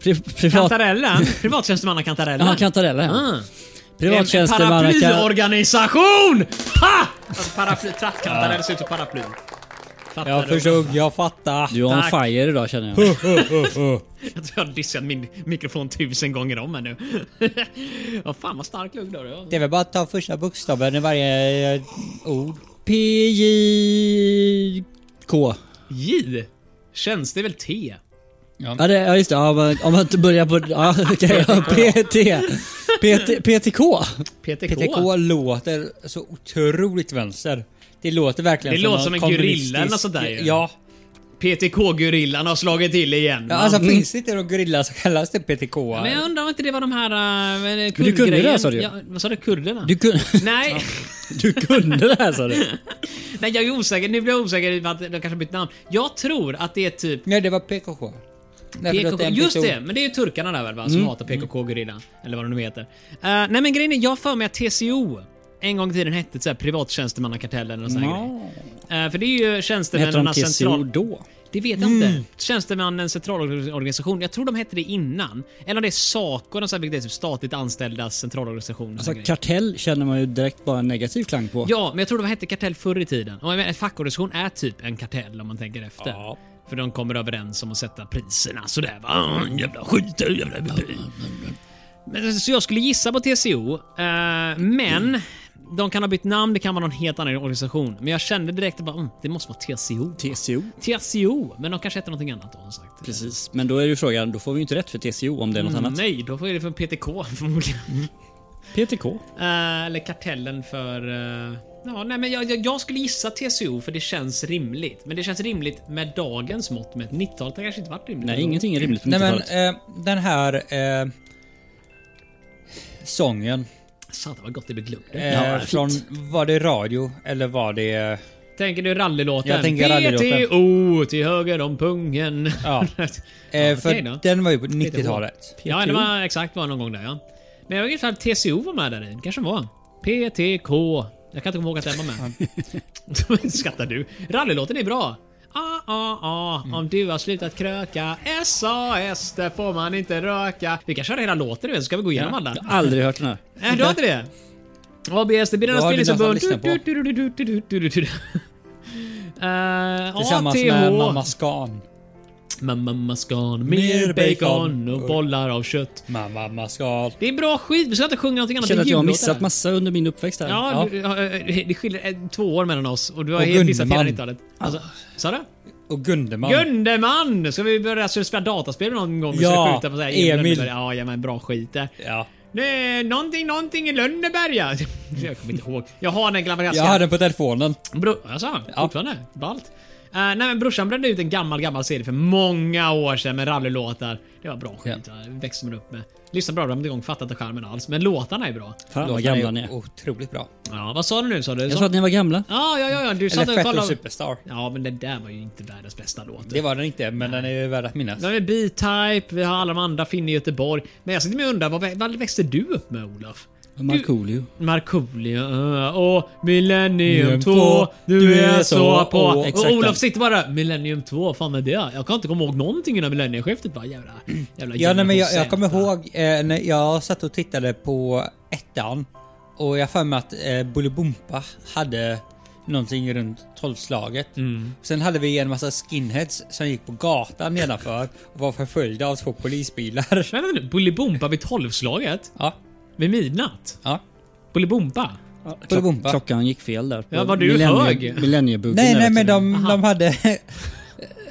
[SPEAKER 1] Pri, privat...
[SPEAKER 3] Kantarellen. Privattjänstemannakantaren.
[SPEAKER 1] Ja, kantarellen.
[SPEAKER 3] Ah. En
[SPEAKER 1] Privattjänstemannakar...
[SPEAKER 3] paraplyorganisation! Ha! Alltså paraply, trattkantarell ser ut som paraply. Fattar
[SPEAKER 2] Jag
[SPEAKER 3] du?
[SPEAKER 2] förstod, jag fattar.
[SPEAKER 1] Du är on
[SPEAKER 3] Tack.
[SPEAKER 1] fire idag känner jag.
[SPEAKER 3] Jag tror jag har dissat min mikrofon tusen gånger om här nu. Vad fan vad stark lugg du har.
[SPEAKER 2] Det är väl bara att ta första bokstaven i varje eh, ord.
[SPEAKER 1] PJK.
[SPEAKER 3] J? Känns det är väl T?
[SPEAKER 1] Ja, det, ja just det, ja, om, man, om man inte börjar på... Ja, okej. ja, PT. PT. PTK.
[SPEAKER 3] PTK?
[SPEAKER 2] PTK låter så otroligt vänster. Det låter verkligen
[SPEAKER 3] Det låter som
[SPEAKER 2] någon
[SPEAKER 3] en gorilla
[SPEAKER 2] kommunistisk-
[SPEAKER 3] eller något sånt där ju.
[SPEAKER 2] Ja.
[SPEAKER 3] PTK-gorillan har slagit till igen.
[SPEAKER 2] ja alltså finns det inte någon gorilla som kallas det PTK?
[SPEAKER 3] Men jag undrar om inte det var de här... Uh,
[SPEAKER 1] kunde det, sa du ju.
[SPEAKER 3] Ja, vad sa du? Kurderna?
[SPEAKER 1] Du kunde,
[SPEAKER 3] Nej.
[SPEAKER 1] du kunde det här sa du.
[SPEAKER 3] Nej, jag är osäker. Nu blir jag osäker i och med att de kanske bytt namn. Jag tror att det är typ
[SPEAKER 2] Nej det var PKK. Därför att
[SPEAKER 3] PKK,
[SPEAKER 2] är en
[SPEAKER 3] just
[SPEAKER 2] pistol.
[SPEAKER 3] det, men det är ju turkarna där väl va, som hatar PKK-gerillan. Eller vad de nu heter. Eh, nej men grejen är, jag har för mig att TCO en gång i tiden hette så här privattjänstemannakartellen eller sån här grej. Eh, För det är ju
[SPEAKER 1] Hette de
[SPEAKER 3] tjänstemännens
[SPEAKER 1] TCO
[SPEAKER 3] central...
[SPEAKER 1] då?
[SPEAKER 3] Det vet jag inte. Tjänstemännens centralorganisation. Jag tror de hette det innan. Eller om det är Saco, någon sån här, vilket är typ statligt anställdas centralorganisation. och sån
[SPEAKER 1] Alltså
[SPEAKER 3] grej.
[SPEAKER 1] kartell känner man ju direkt bara en negativ klang på.
[SPEAKER 3] Ja, men jag tror de hette kartell förr i tiden. Och jag menar, en fackorganisation är typ en kartell om man tänker efter. För de kommer överens om att sätta priserna sådär va. Ah, Jävla skit, jävla... Men, Så jag skulle gissa på TCO, eh, men de kan ha bytt namn, det kan vara någon helt annan organisation. Men jag kände direkt att bara, mm, det måste vara TCO.
[SPEAKER 1] TCO.
[SPEAKER 3] TCO, men de kanske heter någonting annat då. som Sagt.
[SPEAKER 1] Precis, men då är ju frågan, då får vi ju inte rätt för TCO om det är något annat.
[SPEAKER 3] Mm, Nej, då är det för PTK förmodligen.
[SPEAKER 1] PTK.
[SPEAKER 3] Eh, eller kartellen för... eh, ja, nej, men jag, jag, jag skulle gissa TCO för det känns rimligt. Men det känns rimligt med dagens mått med 90-talet. Det kanske inte varit rimligt.
[SPEAKER 1] Nej, ingenting är rimligt på
[SPEAKER 2] Nej men
[SPEAKER 1] 90-talet.
[SPEAKER 2] eh, den här eh, sången.
[SPEAKER 3] Satan vad gott det blir glömt.
[SPEAKER 2] Eh,
[SPEAKER 1] Ja, fint.
[SPEAKER 2] från, var det radio eller var det... eh,
[SPEAKER 3] Tänker du rallylåten?
[SPEAKER 2] Jag tänker rallylåten.
[SPEAKER 3] PTO till höger om pungen.
[SPEAKER 2] Ja.
[SPEAKER 3] Ja,
[SPEAKER 2] Eh, för
[SPEAKER 3] okej då.
[SPEAKER 2] den var ju på 90-talet.
[SPEAKER 3] ja, det var exakt var någon gång där ja. Men jag vet inte om TCO var med där i. Det kanske var. PTK. Jag kan inte komma ihåg att den var med. Skrattar du? Rallylåten är bra. Ah, ah, ah. Om du har slutat kröka SAS, där får man inte röka. Vi kan köra hela låten nu så ska vi gå igenom alla.
[SPEAKER 2] eh,
[SPEAKER 1] Jag har aldrig hört den här.
[SPEAKER 3] Nej, du har inte det? ABS, det blir
[SPEAKER 2] Då
[SPEAKER 3] denna
[SPEAKER 2] har du
[SPEAKER 3] spelningsförbund.
[SPEAKER 2] nästan lyssnat
[SPEAKER 3] Eh,
[SPEAKER 2] Tillsammans med Mamma Skan.
[SPEAKER 3] Mamma maskan, mer bacon och bollar av kött.
[SPEAKER 2] Mamma Mascal.
[SPEAKER 3] Det är bra skit, vi ska inte sjunga någonting annat.
[SPEAKER 1] Jag känner
[SPEAKER 3] än
[SPEAKER 1] att jag har
[SPEAKER 3] jullåtar.
[SPEAKER 1] missat massa under min uppväxt här.
[SPEAKER 3] Ja, du- ja, eh, det skiljer eh, två år mellan oss och du har
[SPEAKER 2] Och
[SPEAKER 3] helt missat hela
[SPEAKER 2] Gunderman.
[SPEAKER 3] 90-talet. Alltså, sa du?
[SPEAKER 2] Och Gunderman.
[SPEAKER 3] Gunderman! Ska vi börja så spela dataspel någon gång? och
[SPEAKER 2] Ja,
[SPEAKER 3] så skjuta på så här, Emil.
[SPEAKER 2] Emil.
[SPEAKER 3] Lönneberga? Ja, ja men bra skit där.
[SPEAKER 2] ja.
[SPEAKER 3] Nej, Någonting, någonting i Lönneberga. Jag kommer inte ihåg. Jag har den gamla
[SPEAKER 2] Jag hade den på telefonen.
[SPEAKER 3] Bro, alltså, fortfarande? Ballt. Eh, nej men brorsan brände ut en gammal, gammal CD för många år sedan med rallylåtar. Det var bra skit. Yeah. Växte man upp med. Lyssnar bra, drömde igång, fattar inte charmen alls. Men låtarna är bra.
[SPEAKER 1] Fan vad
[SPEAKER 2] Låtarna
[SPEAKER 1] gamla
[SPEAKER 2] är
[SPEAKER 1] ni är.
[SPEAKER 2] Otroligt bra.
[SPEAKER 3] Ja, vad sa du nu? Sa du?
[SPEAKER 1] Jag sa att ni var gamla.
[SPEAKER 3] Ja, ja, ja, ja. Du satt
[SPEAKER 2] Eller
[SPEAKER 3] och
[SPEAKER 2] Fett och
[SPEAKER 3] kollade.
[SPEAKER 2] Superstar.
[SPEAKER 3] Ja, men den där var ju inte världens bästa låt.
[SPEAKER 2] Det var den inte, men den är ju värd att minnas.
[SPEAKER 3] Vi har B-Type, vi har alla de andra, Finn i Göteborg. Men jag sitter med och undrar, vad, vä- vad växte du upp med Olof?
[SPEAKER 1] Markoolio.
[SPEAKER 3] Markoolio ö, och Millennium
[SPEAKER 2] Millennium
[SPEAKER 3] 2. Du är så på.
[SPEAKER 2] å.
[SPEAKER 3] Och
[SPEAKER 2] Exakt den.
[SPEAKER 3] Olof sitter bara Millennium 2, fan är det? Jag kan inte komma ihåg någonting innan millennieskiftet. Bara jävla... jävla
[SPEAKER 2] Ja, nej, men jag, jag
[SPEAKER 3] generation
[SPEAKER 2] kommer
[SPEAKER 3] Z.
[SPEAKER 2] ihåg eh, när jag satt och tittade på ettan och jag har för mig att eh, Bolibompa hade någonting runt tolvslaget. Sen hade vi en massa skinheads som gick på gatan nedanför och var förföljda av två polisbilar.
[SPEAKER 3] Men vänta nu, Bolibompa vid tolvslaget?
[SPEAKER 2] Ja,
[SPEAKER 3] Vid midnatt?
[SPEAKER 2] ja.
[SPEAKER 3] Bolibompa?
[SPEAKER 2] Bolibompa.
[SPEAKER 1] Klockan gick fel där.
[SPEAKER 3] Ja, var du hög?
[SPEAKER 1] Millenniebuggen.
[SPEAKER 2] Nej,
[SPEAKER 1] där,
[SPEAKER 2] nej,
[SPEAKER 1] vet
[SPEAKER 2] men
[SPEAKER 1] du.
[SPEAKER 2] de, de hade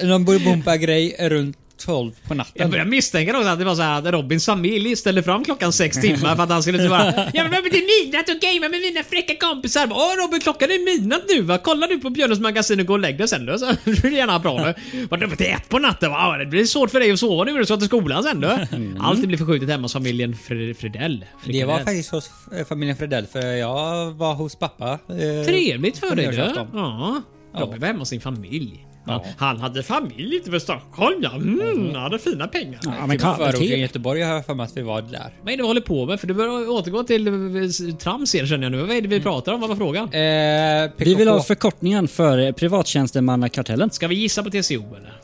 [SPEAKER 2] någon Bolibompa-grej runt 12 på
[SPEAKER 3] Jag
[SPEAKER 2] natten.
[SPEAKER 3] börjar misstänka något att det var så här att Robins familj ställde fram klockan sex timmar för att han skulle inte bara Jag vill till midnatt och gamea med mina fräcka kompisar. Bara, Åh Robin, klockan är midnatt nu va? Kolla nu på Björnes magasin och gå och lägg dig sen du. Så blir det gärna bra nu. Var du uppe till ett på natten va? Ja, Det blir svårt för dig att sova nu när du ska till skolan sen du. Allting blir förskjutet hemma hos familjen Fre- Fredell.
[SPEAKER 2] Det var
[SPEAKER 3] Fredell.
[SPEAKER 2] faktiskt hos eh, familjen Fredell för jag var hos pappa. eh,
[SPEAKER 3] Trevligt
[SPEAKER 2] på
[SPEAKER 3] för dig du.
[SPEAKER 2] nyårsafton.
[SPEAKER 3] Ja. Robin var hemma hos sin familj. Ja. Han hade familj ute på Stockholm ja. Mm, han hade fina pengar.
[SPEAKER 1] Ja, men
[SPEAKER 2] Typ förorten i
[SPEAKER 1] kaffe
[SPEAKER 2] Göteborg har jag för mig att vi var där.
[SPEAKER 3] Vad är det vi håller på med? För du börjar återgå till eh, trams här känner jag nu. Vad är det vi pratar om? Vad var frågan?
[SPEAKER 2] Eh,
[SPEAKER 1] Vi vill ha
[SPEAKER 2] PKK.
[SPEAKER 1] förkortningen för eh, privattjänstemannakartellen.
[SPEAKER 3] Ska vi gissa på TCO eller?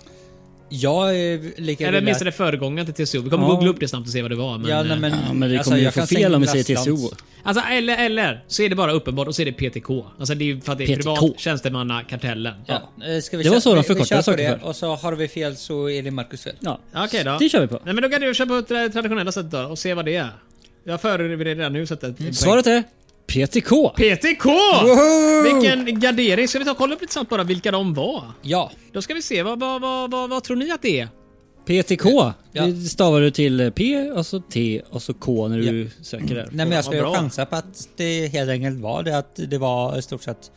[SPEAKER 2] Jag är lika
[SPEAKER 3] Eller
[SPEAKER 2] illa-
[SPEAKER 3] åtminstone föregångaren till TCO. Vi kommer
[SPEAKER 1] Ja.
[SPEAKER 3] googla upp det snabbt och se vad det var. Men,
[SPEAKER 2] Ja, nej,
[SPEAKER 3] eh,
[SPEAKER 2] men,
[SPEAKER 1] Ja, men det
[SPEAKER 2] alltså,
[SPEAKER 1] kommer ju
[SPEAKER 2] jag
[SPEAKER 1] få
[SPEAKER 2] kan
[SPEAKER 1] fel om vi
[SPEAKER 2] sänka
[SPEAKER 1] säger TCO.
[SPEAKER 2] lastans.
[SPEAKER 3] Alltså eller eller så är det bara uppenbart och så är det PTK. Alltså det är ju för att det är
[SPEAKER 1] PTK.
[SPEAKER 3] privat tjänstemannakartellen. Ja.
[SPEAKER 2] Ja. eh, Ska vi
[SPEAKER 1] Det var
[SPEAKER 2] köra-
[SPEAKER 1] så de
[SPEAKER 2] vi- vi
[SPEAKER 1] förkortade
[SPEAKER 2] kör på
[SPEAKER 1] saker
[SPEAKER 2] det,
[SPEAKER 1] förr.
[SPEAKER 2] Och så har vi fel så är det Marcus fel.
[SPEAKER 1] Ja.
[SPEAKER 3] Okej då.
[SPEAKER 1] Det kör vi på.
[SPEAKER 3] Nej men då kan du köra på det traditionella sättet då och se vad det är. Jag förbereder redan nu sättet.
[SPEAKER 1] Svaret är PTK.
[SPEAKER 3] PTK! Vilken gardering! Ska vi ta och kolla upp lite snabbt bara vilka de var?
[SPEAKER 2] Ja.
[SPEAKER 3] Då ska vi se, vad, vad, vad, vad, vad tror ni att det är?
[SPEAKER 1] PTK.
[SPEAKER 2] Ja.
[SPEAKER 1] Det stavar du till P och så T och så K när du söker där.
[SPEAKER 2] Nej, men jag
[SPEAKER 3] vad
[SPEAKER 2] skulle
[SPEAKER 3] bra.
[SPEAKER 2] chansa på att det helt enkelt var det att det var i stort sett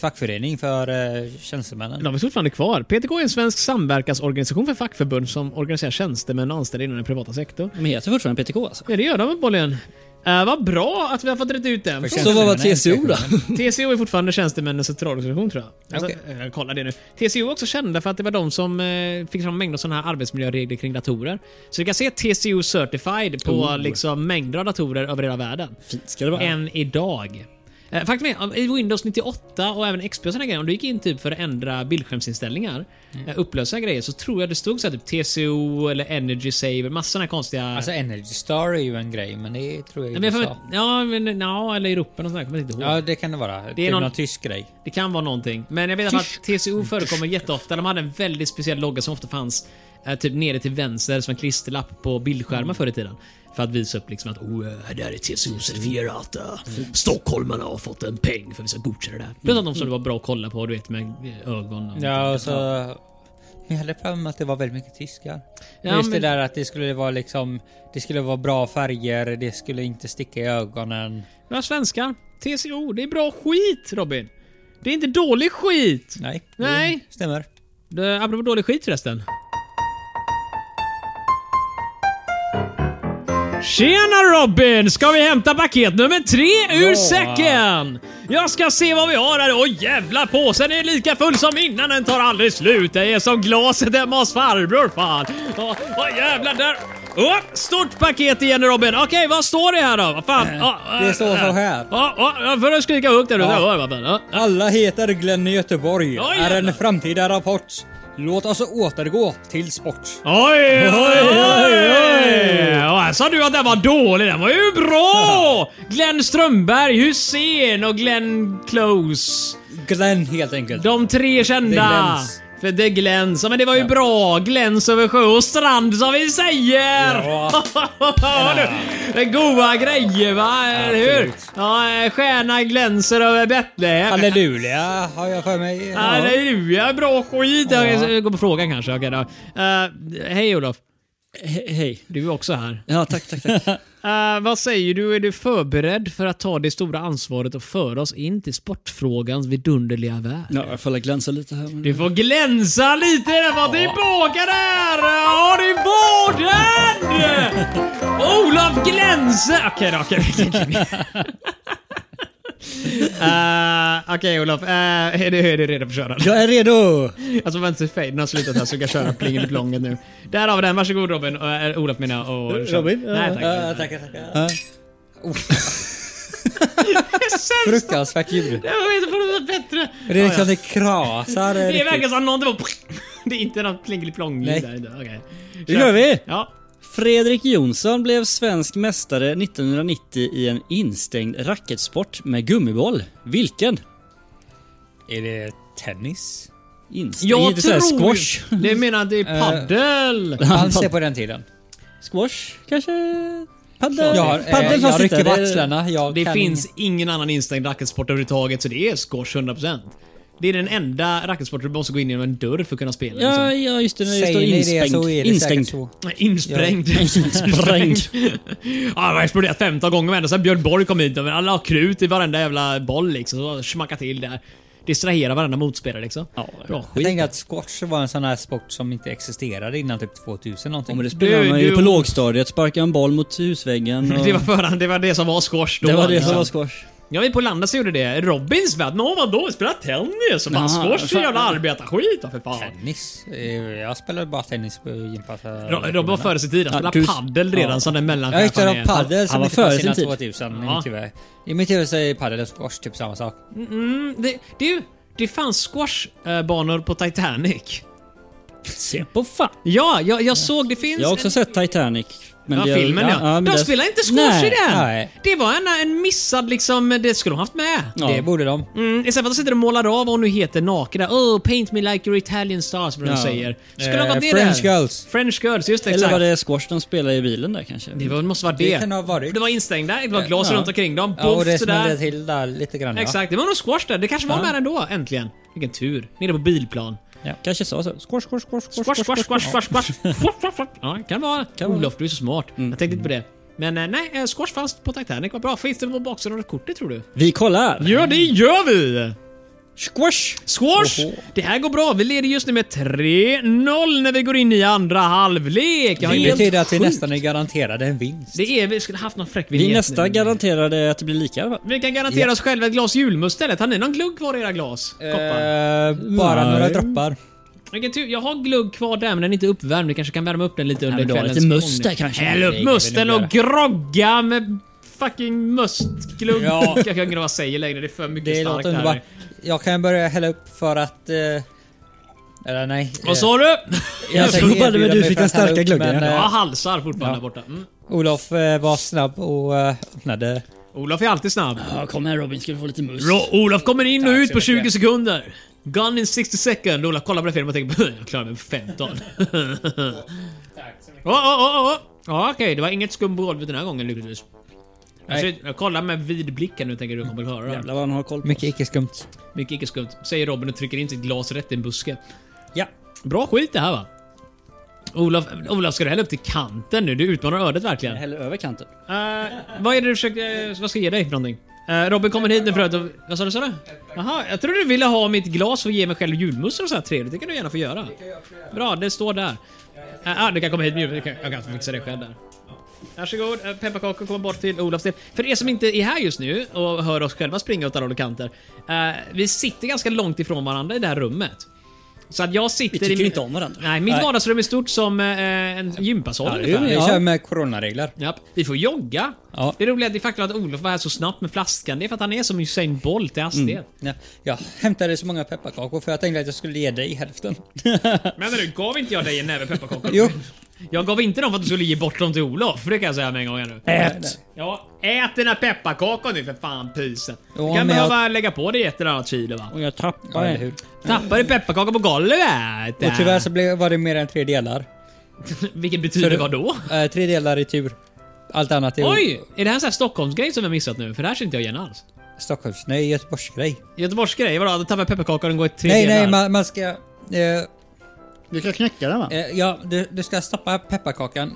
[SPEAKER 2] fackförening för eh, tjänstemännen.
[SPEAKER 3] De är fortfarande kvar. PTK är en svensk samverkansorganisation för fackförbund som organiserar tjänstemän och anställda inom den privata sektorn.
[SPEAKER 1] De heter fortfarande PTK alltså.
[SPEAKER 3] Ja, det gör de uppenbarligen. Uh, vad bra att vi har fått rätt ut den.
[SPEAKER 2] För
[SPEAKER 1] Så vad var
[SPEAKER 2] tjänstemännen.
[SPEAKER 1] TCO då?
[SPEAKER 3] TCO är fortfarande tjänstemännens centralorganisation tror jag. Alltså,
[SPEAKER 2] Okej.
[SPEAKER 3] eh, kolla det nu. TCO är också kända för att det var de som eh, fick fram mängder av sådana här arbetsmiljöregler kring datorer. Så du kan se TCO Certified på liksom, mängder av datorer över hela världen.
[SPEAKER 1] Oh. Fint ska det vara.
[SPEAKER 3] än idag. Eh, Faktum är, i Windows 98 och även XP och såna grejer, om du gick in typ för att ändra bildskärmsinställningar, mm. upplösa grejer, så tror jag det stod så här, typ TCO eller Energy Saver, massa såna här konstiga...
[SPEAKER 2] Alltså Energy Star är ju en grej, men det tror jag
[SPEAKER 3] Nej,
[SPEAKER 2] inte
[SPEAKER 3] men jag får-
[SPEAKER 2] USA.
[SPEAKER 3] ja, men, ja, eller Europa och sånt där, kommer jag inte ihåg.
[SPEAKER 2] Ja, det kan det vara. Det är typ
[SPEAKER 3] någon-
[SPEAKER 2] någon... tysk grej.
[SPEAKER 3] Det kan vara någonting. Men jag vet i alla fall att TCO förekommer jätteofta. De hade en väldigt speciell logga som ofta fanns eh, typ nere till vänster som en klisterlapp på bildskärmar förr i tiden. För att visa upp liksom att oh, eh, det här är TCO-certifierat. eh,
[SPEAKER 2] Mm.
[SPEAKER 3] Stockholmarna har fått en peng för att vi ska godkänna det här. Plus att de som det var bra att kolla på, du vet med eh, ögon och...
[SPEAKER 2] Ja, och så... Men jag hade för mig att det var väldigt mycket tyskar.
[SPEAKER 3] Ja,
[SPEAKER 2] Just
[SPEAKER 3] men-
[SPEAKER 2] det där att det skulle vara liksom... Det skulle vara bra färger, det skulle inte sticka i ögonen.
[SPEAKER 3] Några svenskar. TCO, det är bra skit Robin. Det är inte dålig skit.
[SPEAKER 2] Nej.
[SPEAKER 3] Nej.
[SPEAKER 2] Det Mm, stämmer.
[SPEAKER 3] Det- Apropå dålig skit förresten. Tjena Robin! Ska vi hämta paket nummer tre ur
[SPEAKER 2] Ja.
[SPEAKER 3] säcken? Jag ska se vad vi har här. Åh jävla påsen är lika full som innan. Den tar aldrig slut. Det är som glaset hemma hos farbror fan. Åh, åh jävlar där. Åh, stort paket igen Robin. Okej, vad står det här då? Vad fan? Åh,
[SPEAKER 2] Eh, Det
[SPEAKER 3] äh,
[SPEAKER 2] står så
[SPEAKER 3] äh.
[SPEAKER 2] här.
[SPEAKER 3] Åh, åh, för att skrika högt där ute.
[SPEAKER 2] Ja.
[SPEAKER 3] Åh, vad fan, åh.
[SPEAKER 2] Alla heter Glenn i Göteborg.
[SPEAKER 3] Ja,
[SPEAKER 2] är
[SPEAKER 3] jävlar.
[SPEAKER 2] en framtida rapport. Låt oss återgå till sport.
[SPEAKER 3] Oj, oj, oj! Och här sa du att den var dålig. Den var ju bra! Glenn Strömberg, Hussein och Glenn Close.
[SPEAKER 2] Glenn helt enkelt.
[SPEAKER 3] De tre kända.
[SPEAKER 2] Glens.
[SPEAKER 3] För det gläns. Ja, Men det var ju bra. Gläns över sjö och strand som vi säger!
[SPEAKER 2] Ja.
[SPEAKER 3] Du, Det är goa grejer va? Eller hur?
[SPEAKER 2] Absolut.
[SPEAKER 3] Ja, stjärna glänser över Betlehem.
[SPEAKER 2] Halleluja har jag för mig.
[SPEAKER 3] Ja. Halleluja, bra skit!
[SPEAKER 2] Ja.
[SPEAKER 3] Jag går på frågan kanske. Okej då. Eh, Hej Olof.
[SPEAKER 1] He- hej.
[SPEAKER 3] Du är också här.
[SPEAKER 1] Ja, tack, tack, tack.
[SPEAKER 3] Eh, vad säger du? Är du förberedd för att ta det stora ansvaret och föra oss in till sportfrågans vidunderliga värld?
[SPEAKER 1] Ja, jag får väl glänsa lite här.
[SPEAKER 3] Du får glänsa lite! Var tillbaka där! Har du vården? Olof Glänse! Okej då, okej. Eh, Okej Olof, Eh, är, du, är du redo för att köra?
[SPEAKER 1] Jag är redo!
[SPEAKER 3] Alltså vänster faden har slutat här så jag kan köra plingen i plånget nu. Där har vi den, varsågod Robin. Uh, Olof menar jag. Och kör.
[SPEAKER 1] Robin?
[SPEAKER 3] Nej tack.
[SPEAKER 2] Ja, tackar, tackar. Fruktansvärt ljud.
[SPEAKER 3] Jag vet inte vad det är bättre.
[SPEAKER 2] Det är liksom det krasar.
[SPEAKER 3] Det
[SPEAKER 2] riktigt.
[SPEAKER 3] verkar som någonting var... Det är inte något plingeliplong
[SPEAKER 2] Nej.
[SPEAKER 3] där. Okej.
[SPEAKER 1] Nu kör vi!
[SPEAKER 3] Ja.
[SPEAKER 1] Fredrik Jonsson blev svensk mästare 1990 i en instängd racketsport med gummiboll. Vilken?
[SPEAKER 2] Är det tennis?
[SPEAKER 1] Instängd?
[SPEAKER 3] Jag
[SPEAKER 1] Lite så här
[SPEAKER 3] tror...
[SPEAKER 1] Squash?
[SPEAKER 3] Det menar att det är paddel.
[SPEAKER 2] Alls det på den tiden.
[SPEAKER 1] Squash? Kanske? Paddel?
[SPEAKER 2] Jag, har, eh,
[SPEAKER 1] Paddel
[SPEAKER 2] jag
[SPEAKER 1] fast inte.
[SPEAKER 2] rycker på
[SPEAKER 1] Det är-
[SPEAKER 2] axlarna. Jag
[SPEAKER 3] Det
[SPEAKER 2] kan
[SPEAKER 3] finns ingen annan instängd racketsport överhuvudtaget så det är squash 100%. Det är den enda racketsport du måste gå in genom en dörr för att kunna spela.
[SPEAKER 1] Ja,
[SPEAKER 3] liksom.
[SPEAKER 1] ja, just det. När det
[SPEAKER 2] Säger
[SPEAKER 1] står
[SPEAKER 2] ni det
[SPEAKER 1] instängd.
[SPEAKER 2] så är det
[SPEAKER 1] instängd.
[SPEAKER 2] säkert så.
[SPEAKER 3] Insprängd.
[SPEAKER 1] Insprängd.
[SPEAKER 3] ja, det har exploderat 15 gånger med ändå sen Björn Borg kom hit. och Alla har krut i varenda jävla boll liksom. Så smacka till där. Distraherar varenda motspelare liksom.
[SPEAKER 1] Ja,
[SPEAKER 3] Bra
[SPEAKER 2] Jag
[SPEAKER 3] skit.
[SPEAKER 2] tänkte att squash var en sån här sport som inte existerade innan typ 2000
[SPEAKER 1] Ja,
[SPEAKER 2] någonting.
[SPEAKER 1] men det spelar
[SPEAKER 3] Du-
[SPEAKER 1] man ju
[SPEAKER 3] du-
[SPEAKER 1] på lågstadiet. Sparka en boll mot husväggen. Och...
[SPEAKER 3] Det var förhand, det var det som var squash då.
[SPEAKER 1] det var det som
[SPEAKER 3] liksom.
[SPEAKER 1] var squash.
[SPEAKER 3] Ja, vi på Landas gjorde det. Robins värld. Nå vadå? Vi spelar tennis. Fan,
[SPEAKER 1] Jaha,
[SPEAKER 3] squash är
[SPEAKER 1] fan.
[SPEAKER 3] jävla arbetarskit. Ja, för fan.
[SPEAKER 2] Tennis? Eh, Jag spelade bara tennis på gympasset.
[SPEAKER 3] Ro- Robin var före sin tid. Han
[SPEAKER 1] Ja,
[SPEAKER 3] spelade
[SPEAKER 1] du-
[SPEAKER 3] padel redan
[SPEAKER 1] ja.
[SPEAKER 3] som den
[SPEAKER 2] Jag
[SPEAKER 3] mellanchefen
[SPEAKER 2] hittade
[SPEAKER 3] är.
[SPEAKER 2] padel
[SPEAKER 1] Han
[SPEAKER 2] som
[SPEAKER 1] var
[SPEAKER 2] inte
[SPEAKER 1] före
[SPEAKER 2] fanns
[SPEAKER 1] sin
[SPEAKER 2] innan
[SPEAKER 1] tid.
[SPEAKER 2] 2000 i
[SPEAKER 3] Ja.
[SPEAKER 2] mitt huvud. I mitt huvud så är padel och squash typ samma sak.
[SPEAKER 3] Mm, det, du, det fanns squashbanor på Titanic.
[SPEAKER 1] Se på fan.
[SPEAKER 3] Ja, jag, jag såg det finns...
[SPEAKER 1] Jag har också
[SPEAKER 3] en-
[SPEAKER 1] sett Titanic. Men
[SPEAKER 3] ja,
[SPEAKER 1] det-
[SPEAKER 3] filmen ja.
[SPEAKER 1] men
[SPEAKER 3] De
[SPEAKER 1] det-
[SPEAKER 3] spelar inte squash
[SPEAKER 1] Nej.
[SPEAKER 3] i den!
[SPEAKER 2] Nej.
[SPEAKER 3] Det var en, en missad liksom, det skulle de haft med.
[SPEAKER 1] Ja.
[SPEAKER 2] Det borde de.
[SPEAKER 3] Mm, istället för att de sitter och målar av vad hon nu heter naken där. Oh, paint me like your Italian stars, vad de
[SPEAKER 1] Ja.
[SPEAKER 3] säger. Skulle de
[SPEAKER 2] Eh,
[SPEAKER 3] gått ner
[SPEAKER 2] French
[SPEAKER 3] där?
[SPEAKER 2] girls.
[SPEAKER 3] French girls, just det.
[SPEAKER 1] Eller
[SPEAKER 3] Exakt.
[SPEAKER 1] var det squash de spelade i bilen där kanske?
[SPEAKER 3] Det var, måste vara det.
[SPEAKER 2] Det kan ha varit.
[SPEAKER 3] Det var instängda, det var glas
[SPEAKER 1] Ja.
[SPEAKER 3] runt omkring dem,
[SPEAKER 2] Ja, och
[SPEAKER 3] boff
[SPEAKER 2] det smällde
[SPEAKER 3] sådär.
[SPEAKER 2] till där lite grann. Ja.
[SPEAKER 3] Exakt, det var nog squash där. Det kanske var med ändå, äntligen. Vilken tur. Nere på bilplan.
[SPEAKER 1] Kanske sa så. Squash, squash, squash, squash.
[SPEAKER 3] Squash, squash, squash, squash, squash. Squash, squash, squash. Ja, kan vara.
[SPEAKER 1] vara.
[SPEAKER 3] Olof, du är så smart. Jag tänkte inte på det. Men eh, nej, eh, squash fast på Titanic var bra. Finns det på baksidan av kortet tror du?
[SPEAKER 1] Vi kollar!
[SPEAKER 3] Ja, det gör vi!
[SPEAKER 1] Squash!
[SPEAKER 3] Squash! Det här går bra. Vi leder just nu med 3-0 när vi går in i andra halvlek. Jag har
[SPEAKER 2] Det
[SPEAKER 3] helt...
[SPEAKER 2] betyder att vi
[SPEAKER 1] sjukt.
[SPEAKER 2] nästan är garanterade en vinst.
[SPEAKER 3] Det är... Vi skulle haft någon fräck
[SPEAKER 1] Vi
[SPEAKER 3] vignett
[SPEAKER 1] nästa
[SPEAKER 3] nu.
[SPEAKER 1] garanterade att det blir lika i alla fall.
[SPEAKER 3] Vi kan garantera oss själva ett glas julmust istället. Har ni någon glugg kvar i era glas? Koppar?
[SPEAKER 2] Eh, bara
[SPEAKER 1] Nej.
[SPEAKER 2] några droppar.
[SPEAKER 3] Vilken tur. Jag har glugg kvar där men den är inte uppvärmd. Vi kanske kan värma upp den lite under
[SPEAKER 1] men då
[SPEAKER 3] kvällens
[SPEAKER 1] lite must där kanske.
[SPEAKER 3] Häll upp
[SPEAKER 2] Det kan vi
[SPEAKER 3] musten
[SPEAKER 2] nog
[SPEAKER 3] och grogga med fucking mustglugg.
[SPEAKER 2] Ja.
[SPEAKER 3] Jag kan inte vad jag säger längre. Det är för mycket
[SPEAKER 2] Det
[SPEAKER 3] starkt
[SPEAKER 2] låter
[SPEAKER 3] det här.
[SPEAKER 2] underbart. Jag kan börja hälla upp för att... Eh, eller nej.
[SPEAKER 3] Vad sa
[SPEAKER 2] Eh.
[SPEAKER 3] du?
[SPEAKER 1] Jag
[SPEAKER 2] tänker
[SPEAKER 1] tror bara det, men
[SPEAKER 2] erbjuda
[SPEAKER 1] du
[SPEAKER 2] mig
[SPEAKER 1] fick
[SPEAKER 2] för
[SPEAKER 1] den
[SPEAKER 2] att hälla
[SPEAKER 1] starka Ah.
[SPEAKER 2] upp,
[SPEAKER 1] gluggen,
[SPEAKER 2] men,
[SPEAKER 1] ja.
[SPEAKER 3] Jag
[SPEAKER 2] eh,
[SPEAKER 3] halsar fortfarande
[SPEAKER 2] Ja.
[SPEAKER 3] där borta. Mm.
[SPEAKER 2] Olof eh, var snabb och eh, öppnade.
[SPEAKER 3] Olof är alltid snabb.
[SPEAKER 1] Ja, kom här Robin, ska du få lite must.
[SPEAKER 3] Ro- Olof kommer in och
[SPEAKER 2] Tack
[SPEAKER 3] ut
[SPEAKER 2] så
[SPEAKER 3] på
[SPEAKER 2] mycket.
[SPEAKER 3] 20 sekunder. Gun in 60 second. Olof kollar på den filmen och tänker jag klarar mig på 15. Åh, åh, åh, åh. Ja, okej. Det var inget skum på golvet den här gången lyckligtvis. Jag,
[SPEAKER 2] Nej.
[SPEAKER 3] ser, jag kollar med vid blicken nu tänker du kommer att höra det. här.
[SPEAKER 1] Jävlar vad han har koll på.
[SPEAKER 2] Mycket icke-skumt.
[SPEAKER 3] Mycket icke skumt. Säger Robin och trycker in sitt glas rätt i en buske.
[SPEAKER 2] Ja.
[SPEAKER 3] Bra skit det här va? Olof, Olof ska du hälla upp till kanten nu? Du utmanar ödet verkligen.
[SPEAKER 1] Häller över kanten.
[SPEAKER 3] Eh, vad är det du försöker... eh, vad ska jag ge dig för någonting? Eh, Robin kommer hit nu förut och... Vad sa du? Sa du? Jaha, jag trodde du ville ha mitt glas och ge mig själv julmust och så här trevligt. Det kan du gärna få göra. Bra, det står där. Uh, du kan komma hit med jul. Jag kan- Jag kan fixa det själv där. Varsågod, eh, pepparkakor kommer bort till Olofs del. För er som inte är här just nu och hör oss själva springa åt alla håll och kanter. eh, vi sitter ganska långt ifrån varandra i det här rummet. Så att jag sitter
[SPEAKER 1] Vi tycker
[SPEAKER 3] i... min-
[SPEAKER 1] inte om varandra.
[SPEAKER 3] Nej, mitt vardagsrum är stort som eh, en gympasal
[SPEAKER 1] det är
[SPEAKER 3] ungefär.
[SPEAKER 1] ju-
[SPEAKER 2] Vi
[SPEAKER 1] Ja.
[SPEAKER 2] kör med coronaregler.
[SPEAKER 3] Japp, vi får jogga.
[SPEAKER 2] Ja.
[SPEAKER 3] Det roliga är att det faktum att Olof var här så snabbt med flaskan, det är för att han är som Usain Bolt i hastighet.
[SPEAKER 2] Ja, jag hämtade så många pepparkakor för jag tänkte att jag skulle ge dig hälften.
[SPEAKER 3] Men nu, gav inte jag dig en näve pepparkakor?
[SPEAKER 2] Jo.
[SPEAKER 3] Jag gav inte dem för att du skulle ge bort dem till Olof, för det kan jag säga med en gång här nu.
[SPEAKER 2] Ät!
[SPEAKER 3] Ja, ät dina pepparkakor nu för fan pysen. Du
[SPEAKER 2] Ja,
[SPEAKER 3] kan
[SPEAKER 2] men jag-
[SPEAKER 3] behöva lägga på dig ett eller annat kilo va?
[SPEAKER 1] Och jag tappar
[SPEAKER 2] Ja, eller
[SPEAKER 1] en.
[SPEAKER 2] hur?
[SPEAKER 3] Tappar du pepparkakor på golvet?
[SPEAKER 2] Och tyvärr så blev, var det mer än tre delar.
[SPEAKER 3] Vilket betyder
[SPEAKER 2] Så-
[SPEAKER 3] vad då?
[SPEAKER 2] Eh, tre delar i tur. Allt annat är
[SPEAKER 3] Oj! Är det här en sån här Stockholmsgrej som jag missat nu? För det här känner inte jag igen alls.
[SPEAKER 2] Stockholms... Nej, Göteborgsgrej.
[SPEAKER 3] Göteborgsgrej? Vadå? Du tappar pepparkakor och den går i tre
[SPEAKER 2] Nej,
[SPEAKER 3] delar?
[SPEAKER 2] nej, man, man ska... Eh,
[SPEAKER 6] Vi ska knäcka den va?
[SPEAKER 2] Eh, ja, du, du ska stoppa pepparkakan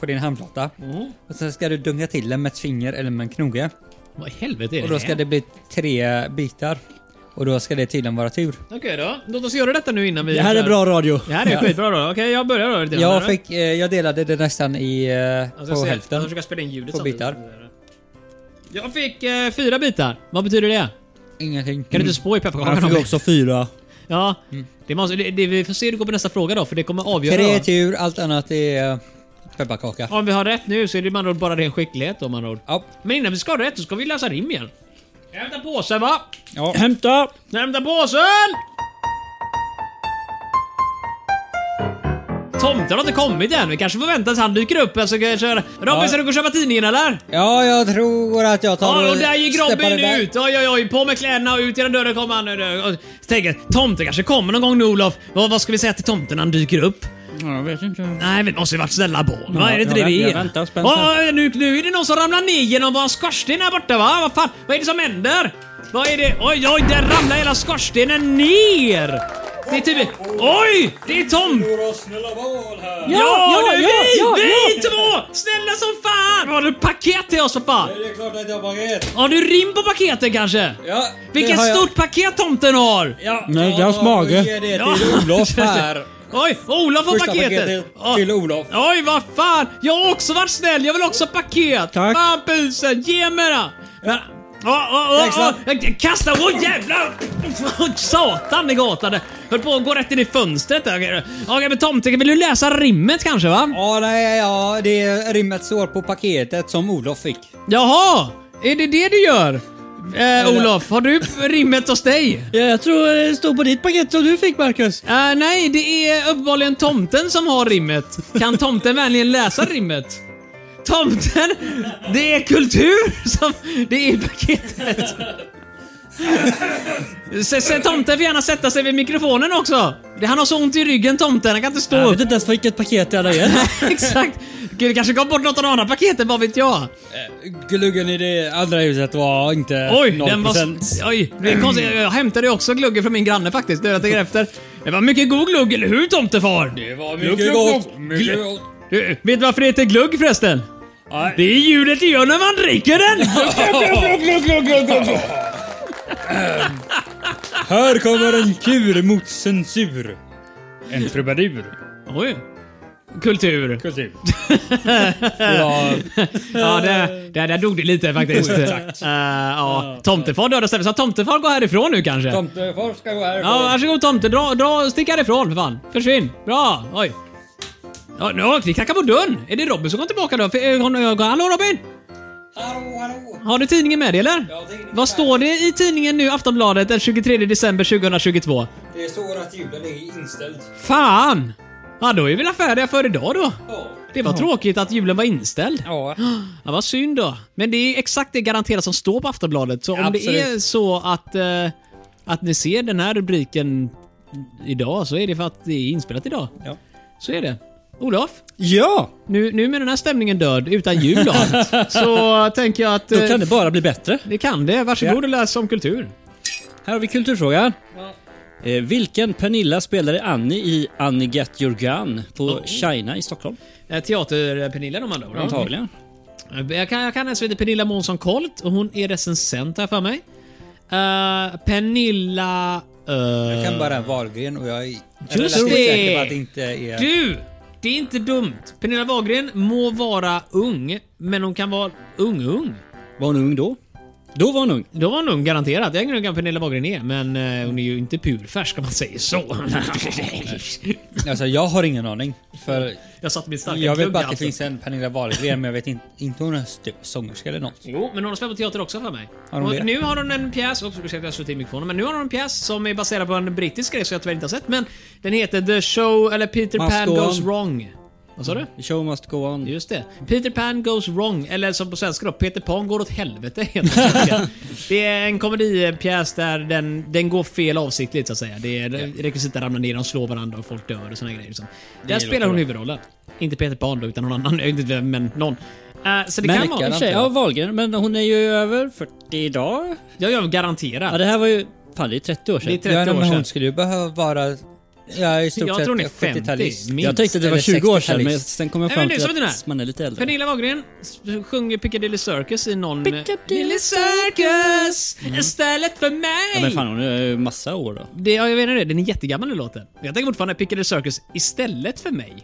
[SPEAKER 2] på din handflata.
[SPEAKER 3] Mm.
[SPEAKER 2] Och sen ska du dunka till den med ett finger eller med en knoge.
[SPEAKER 3] Vad i helvete är
[SPEAKER 2] Och
[SPEAKER 3] det
[SPEAKER 2] då ska
[SPEAKER 3] här?
[SPEAKER 2] det bli tre bitar. Och då ska det tydligen vara tur.
[SPEAKER 3] Okej då, låt oss göra detta nu innan vi...
[SPEAKER 1] Det här är bra radio.
[SPEAKER 3] Det här är skitbra då. Okej, jag börjar då. lite grann här.
[SPEAKER 2] Jag, fick, eh, jag delade det nästan i, eh,
[SPEAKER 3] Alltså, Jag
[SPEAKER 2] på
[SPEAKER 3] ska se-
[SPEAKER 2] hälften.
[SPEAKER 3] Jag försöker spela in ljudet
[SPEAKER 2] På
[SPEAKER 3] samtidigt.
[SPEAKER 2] bitar.
[SPEAKER 3] Jag fick eh, fyra bitar. Vad betyder det? Kan
[SPEAKER 2] Ingenting.
[SPEAKER 3] du inte spå
[SPEAKER 2] Mm.
[SPEAKER 3] i
[SPEAKER 2] Jag
[SPEAKER 3] pepparkakan?
[SPEAKER 2] fick också fyra.
[SPEAKER 3] Ja. Det måste, det, det, vi får se hur det går på nästa fråga då, för det kommer avgöra.
[SPEAKER 2] Tre
[SPEAKER 3] då.
[SPEAKER 2] tur, allt annat är eh, pepparkaka.
[SPEAKER 3] Om vi har rätt nu så är det med andra ord bara ren skicklighet då med andra ord.
[SPEAKER 2] Ja.
[SPEAKER 3] Men innan vi ska ha rätt så ska vi läsa rim igen. Hämta påsen va?
[SPEAKER 2] ja.
[SPEAKER 1] Hämta!
[SPEAKER 3] Hämta påsen! Tomten har inte kommit än. Vi kanske får vänta tills han dyker upp. Alltså, kanske... Robin, ska du gå och köpa tidningen eller?
[SPEAKER 2] Ja, jag tror att jag tar
[SPEAKER 3] Ja, och där gick
[SPEAKER 2] steppar
[SPEAKER 3] Robin
[SPEAKER 2] iväg.
[SPEAKER 3] ut! Oj, oj, oj, på med kläderna och ut genom dörren kommer han. Och Tänker, tomten kanske kommer någon gång nu Olof. Vad, vad ska vi säga till tomten när han dyker upp?
[SPEAKER 6] Jag vet inte.
[SPEAKER 3] Nej, vi måste ju varit snälla på honom. Vad är det inte
[SPEAKER 1] jag
[SPEAKER 3] det vi
[SPEAKER 1] vänt- jag
[SPEAKER 3] är?
[SPEAKER 1] väntar spänt.
[SPEAKER 3] Åh, nu, nu är det någon som ramlar ner genom vår skorsten här borta va? Vad fan, vad är det som händer? Vad är det? Oj, oj, där ramlar hela skorstenen ner! Det är typ... Oj! Det är Tom! Ja, ja, det är vi! vi två! Snälla som fan! Har du paket till oss för fan?
[SPEAKER 2] Det är klart att jag var rätt.
[SPEAKER 3] Har du rim på paketen kanske?
[SPEAKER 2] Ja, det
[SPEAKER 3] Vilket
[SPEAKER 2] har jag.
[SPEAKER 3] stort paket tomten har!
[SPEAKER 2] Ja,
[SPEAKER 6] Nej, det är hans mage.
[SPEAKER 2] då ger det till
[SPEAKER 3] Ja.
[SPEAKER 2] Olof här.
[SPEAKER 3] Oj, Olof har
[SPEAKER 2] Första
[SPEAKER 3] paketet!
[SPEAKER 2] paketet
[SPEAKER 3] Ja.
[SPEAKER 2] till Olof.
[SPEAKER 3] Oj, vad fan! Jag har också varit snäll, jag vill också ha paket!
[SPEAKER 6] Tack.
[SPEAKER 3] Fan busen, ge mig det! Men- Ja, ja,
[SPEAKER 2] Tack,
[SPEAKER 3] ja,
[SPEAKER 2] Sven.
[SPEAKER 3] ja. Kasta! Åh jävlar! Satan i gatan! Höll på att gå rätt in i fönstret där. Okej, Okej, men tomten, vill du läsa rimmet kanske va?
[SPEAKER 2] Ja, nej, ja, det är rimmet står på paketet som Olof fick.
[SPEAKER 3] Jaha! Är det det du gör? Eh, Olof, har du rimmet hos dig?
[SPEAKER 6] Ja, jag tror det stod på ditt paket som du fick Marcus.
[SPEAKER 3] Eh, nej, det är uppenbarligen tomten som har rimmet. Kan tomten vänligen läsa rimmet? Tomten! Det är kultur som... Det är i paketet. Se, se, tomten får gärna sätta sig vid mikrofonen också. Det- Han har så ont i ryggen tomten, han kan inte stå
[SPEAKER 6] Jag
[SPEAKER 3] upp.
[SPEAKER 6] vet inte ens vilket paket det hade gett.
[SPEAKER 3] Exakt. Gud, det kanske gav bort något av de andra paketen, vad vet jag?
[SPEAKER 2] Gluggen i det andra huset var inte
[SPEAKER 3] Oj,
[SPEAKER 2] 0%.
[SPEAKER 3] den var... Oj, det är konstigt. Jag hämtade ju också gluggen från min granne faktiskt. Det är jag tänker efter. Det var mycket god glugg, eller hur tomtefar?
[SPEAKER 2] Det var
[SPEAKER 3] Glugg,
[SPEAKER 2] mycket
[SPEAKER 3] glugg,
[SPEAKER 2] gott.
[SPEAKER 3] glugg.
[SPEAKER 2] Mycket gott.
[SPEAKER 3] Du, vet du varför det heter glugg förresten? Det är ljudet det gör när man dricker den!
[SPEAKER 2] Här kommer en kur mot censur. En trubadur.
[SPEAKER 3] Oj. Kultur.
[SPEAKER 2] Kultur. ja,
[SPEAKER 3] Ja, där, där, där dog det lite faktiskt. Eh, ja. Tomtefar dödade istället, så tomtefar går härifrån nu kanske.
[SPEAKER 2] tomtefar ska gå
[SPEAKER 3] Ja,
[SPEAKER 2] härifrån.
[SPEAKER 3] varsågod tomte, dra, dra, stick härifrån för fan. Försvinn. Bra, oj. Ja, nu, vi knackar på dörren. Är det Robin som kommer tillbaka då? För, eh, hon- eh, Hallå Robin!
[SPEAKER 2] Hallå, hallå.
[SPEAKER 3] Har du tidningen med dig eller?
[SPEAKER 2] Ja, tidningen
[SPEAKER 3] Vad står det i tidningen nu, Aftonbladet, den 23 december 2022?
[SPEAKER 2] Det står att julen är inställd.
[SPEAKER 3] Fan! Ja, då är väl färdiga för idag då. Det var tråkigt att julen var inställd.
[SPEAKER 2] Ja.
[SPEAKER 3] Ja, vad synd då. Men det är exakt det garanterat som står på Aftonbladet. Så om det
[SPEAKER 2] Absolut.
[SPEAKER 3] är så att, eh, att ni ser den här rubriken idag så är det för att det är inspelat idag.
[SPEAKER 2] Ja.
[SPEAKER 3] Så är det. Olof,
[SPEAKER 6] Ja!
[SPEAKER 3] nu, nu med den här stämningen död utan jul och allt, så tänker jag att... eh,
[SPEAKER 6] Då kan det bara bli bättre.
[SPEAKER 3] det kan det. Varsågod och läs om kultur.
[SPEAKER 1] Här har vi kulturfrågan. Eh, vilken Pernilla spelade Annie i Annie Get Your Gun på China i Stockholm?
[SPEAKER 3] Eh, Teater-Pernilla de andra orden.
[SPEAKER 1] Antagligen.
[SPEAKER 3] Jag kan, jag kan hennes vd Pernilla Månsson Kolt och hon är recensent här för mig. Eh, Pernilla... eh,
[SPEAKER 2] Jag kan bara Wahlgren och jag är
[SPEAKER 3] Just
[SPEAKER 2] relativt
[SPEAKER 3] det.
[SPEAKER 2] säker på att det inte är...
[SPEAKER 3] Du! Det är inte dumt. Pernilla Wahlgren må vara ung, men hon kan vara ung-ung.
[SPEAKER 1] Var hon ung då? Då var hon ung.
[SPEAKER 3] Då var hon ung garanterat. Jag är ingen ung än Pernilla Wahlgren är, men eh, hon är ju inte purfärsk om man säger så.
[SPEAKER 2] Alltså jag har ingen aning. För
[SPEAKER 3] jag satte min starka alltså.
[SPEAKER 2] jag vet
[SPEAKER 3] glugg
[SPEAKER 2] bara
[SPEAKER 3] i
[SPEAKER 2] att det
[SPEAKER 3] halsen.
[SPEAKER 2] finns en Pernilla Wahlgren men jag vet inte, inte hon är typ sångerska eller något.
[SPEAKER 3] Jo, Oh, men hon har spelat på teater också för mig.
[SPEAKER 2] Har hon
[SPEAKER 3] Och
[SPEAKER 2] det?
[SPEAKER 3] nu har hon en pjäs, oops, ursäkta jag slog till mikrofonen, men nu har hon en pjäs som är baserad på en brittisk grej som jag tyvärr inte har sett, men den heter The Show, eller Peter
[SPEAKER 1] Must
[SPEAKER 3] Pan
[SPEAKER 1] go
[SPEAKER 3] Goes
[SPEAKER 1] on.
[SPEAKER 3] Wrong. Vad sa du?
[SPEAKER 1] The show must go on.
[SPEAKER 3] Just det. Peter Pan Goes Wrong, eller som på svenska då, Peter Pan går åt helvete heter den på svenska. Det är en komedipjäs där den, den går fel avsiktligt så att säga. Det är rekvisita ramlar ner, de slår varandra och folk dör och såna grejer. Liksom. Där spelar hon huvudrollen. Inte Peter Pan då, utan någon annan. Jag vet inte vem, men någon. Eh, så det
[SPEAKER 1] Men
[SPEAKER 3] kan vara...
[SPEAKER 1] i och för sig, ja, Wahlgren, men hon är ju över 40 idag.
[SPEAKER 3] Jag gör garanterat.
[SPEAKER 1] Ja, det här var ju... Fan, det är 30 år sedan.
[SPEAKER 3] Det är 30
[SPEAKER 2] Ja,
[SPEAKER 3] år
[SPEAKER 2] men
[SPEAKER 3] sedan.
[SPEAKER 2] hon skulle ju behöva vara Ja, i stort
[SPEAKER 3] Jag
[SPEAKER 2] sett
[SPEAKER 3] tror hon är
[SPEAKER 2] 70
[SPEAKER 3] 50,
[SPEAKER 2] -talist.
[SPEAKER 3] minst.
[SPEAKER 1] Jag tänkte att det var
[SPEAKER 2] Eller
[SPEAKER 1] 20 år sedan,
[SPEAKER 2] 60-talist.
[SPEAKER 1] men sen kom jag
[SPEAKER 3] Nej,
[SPEAKER 1] fram
[SPEAKER 3] men nu
[SPEAKER 1] till
[SPEAKER 3] så vet ni
[SPEAKER 1] att
[SPEAKER 3] det.
[SPEAKER 1] man är lite äldre.
[SPEAKER 3] Pernilla Wahlgren s- sjunger Piccadilly Circus i någon...
[SPEAKER 1] Piccadilly Mm.
[SPEAKER 3] Circus istället för
[SPEAKER 1] Ja, men
[SPEAKER 3] mig!
[SPEAKER 1] fan, hon är ju massa år då.
[SPEAKER 3] det, ja, jag vet inte det, den är jättegammal den låten. Jag tänker fortfarande Piccadilly Circus istället för mig.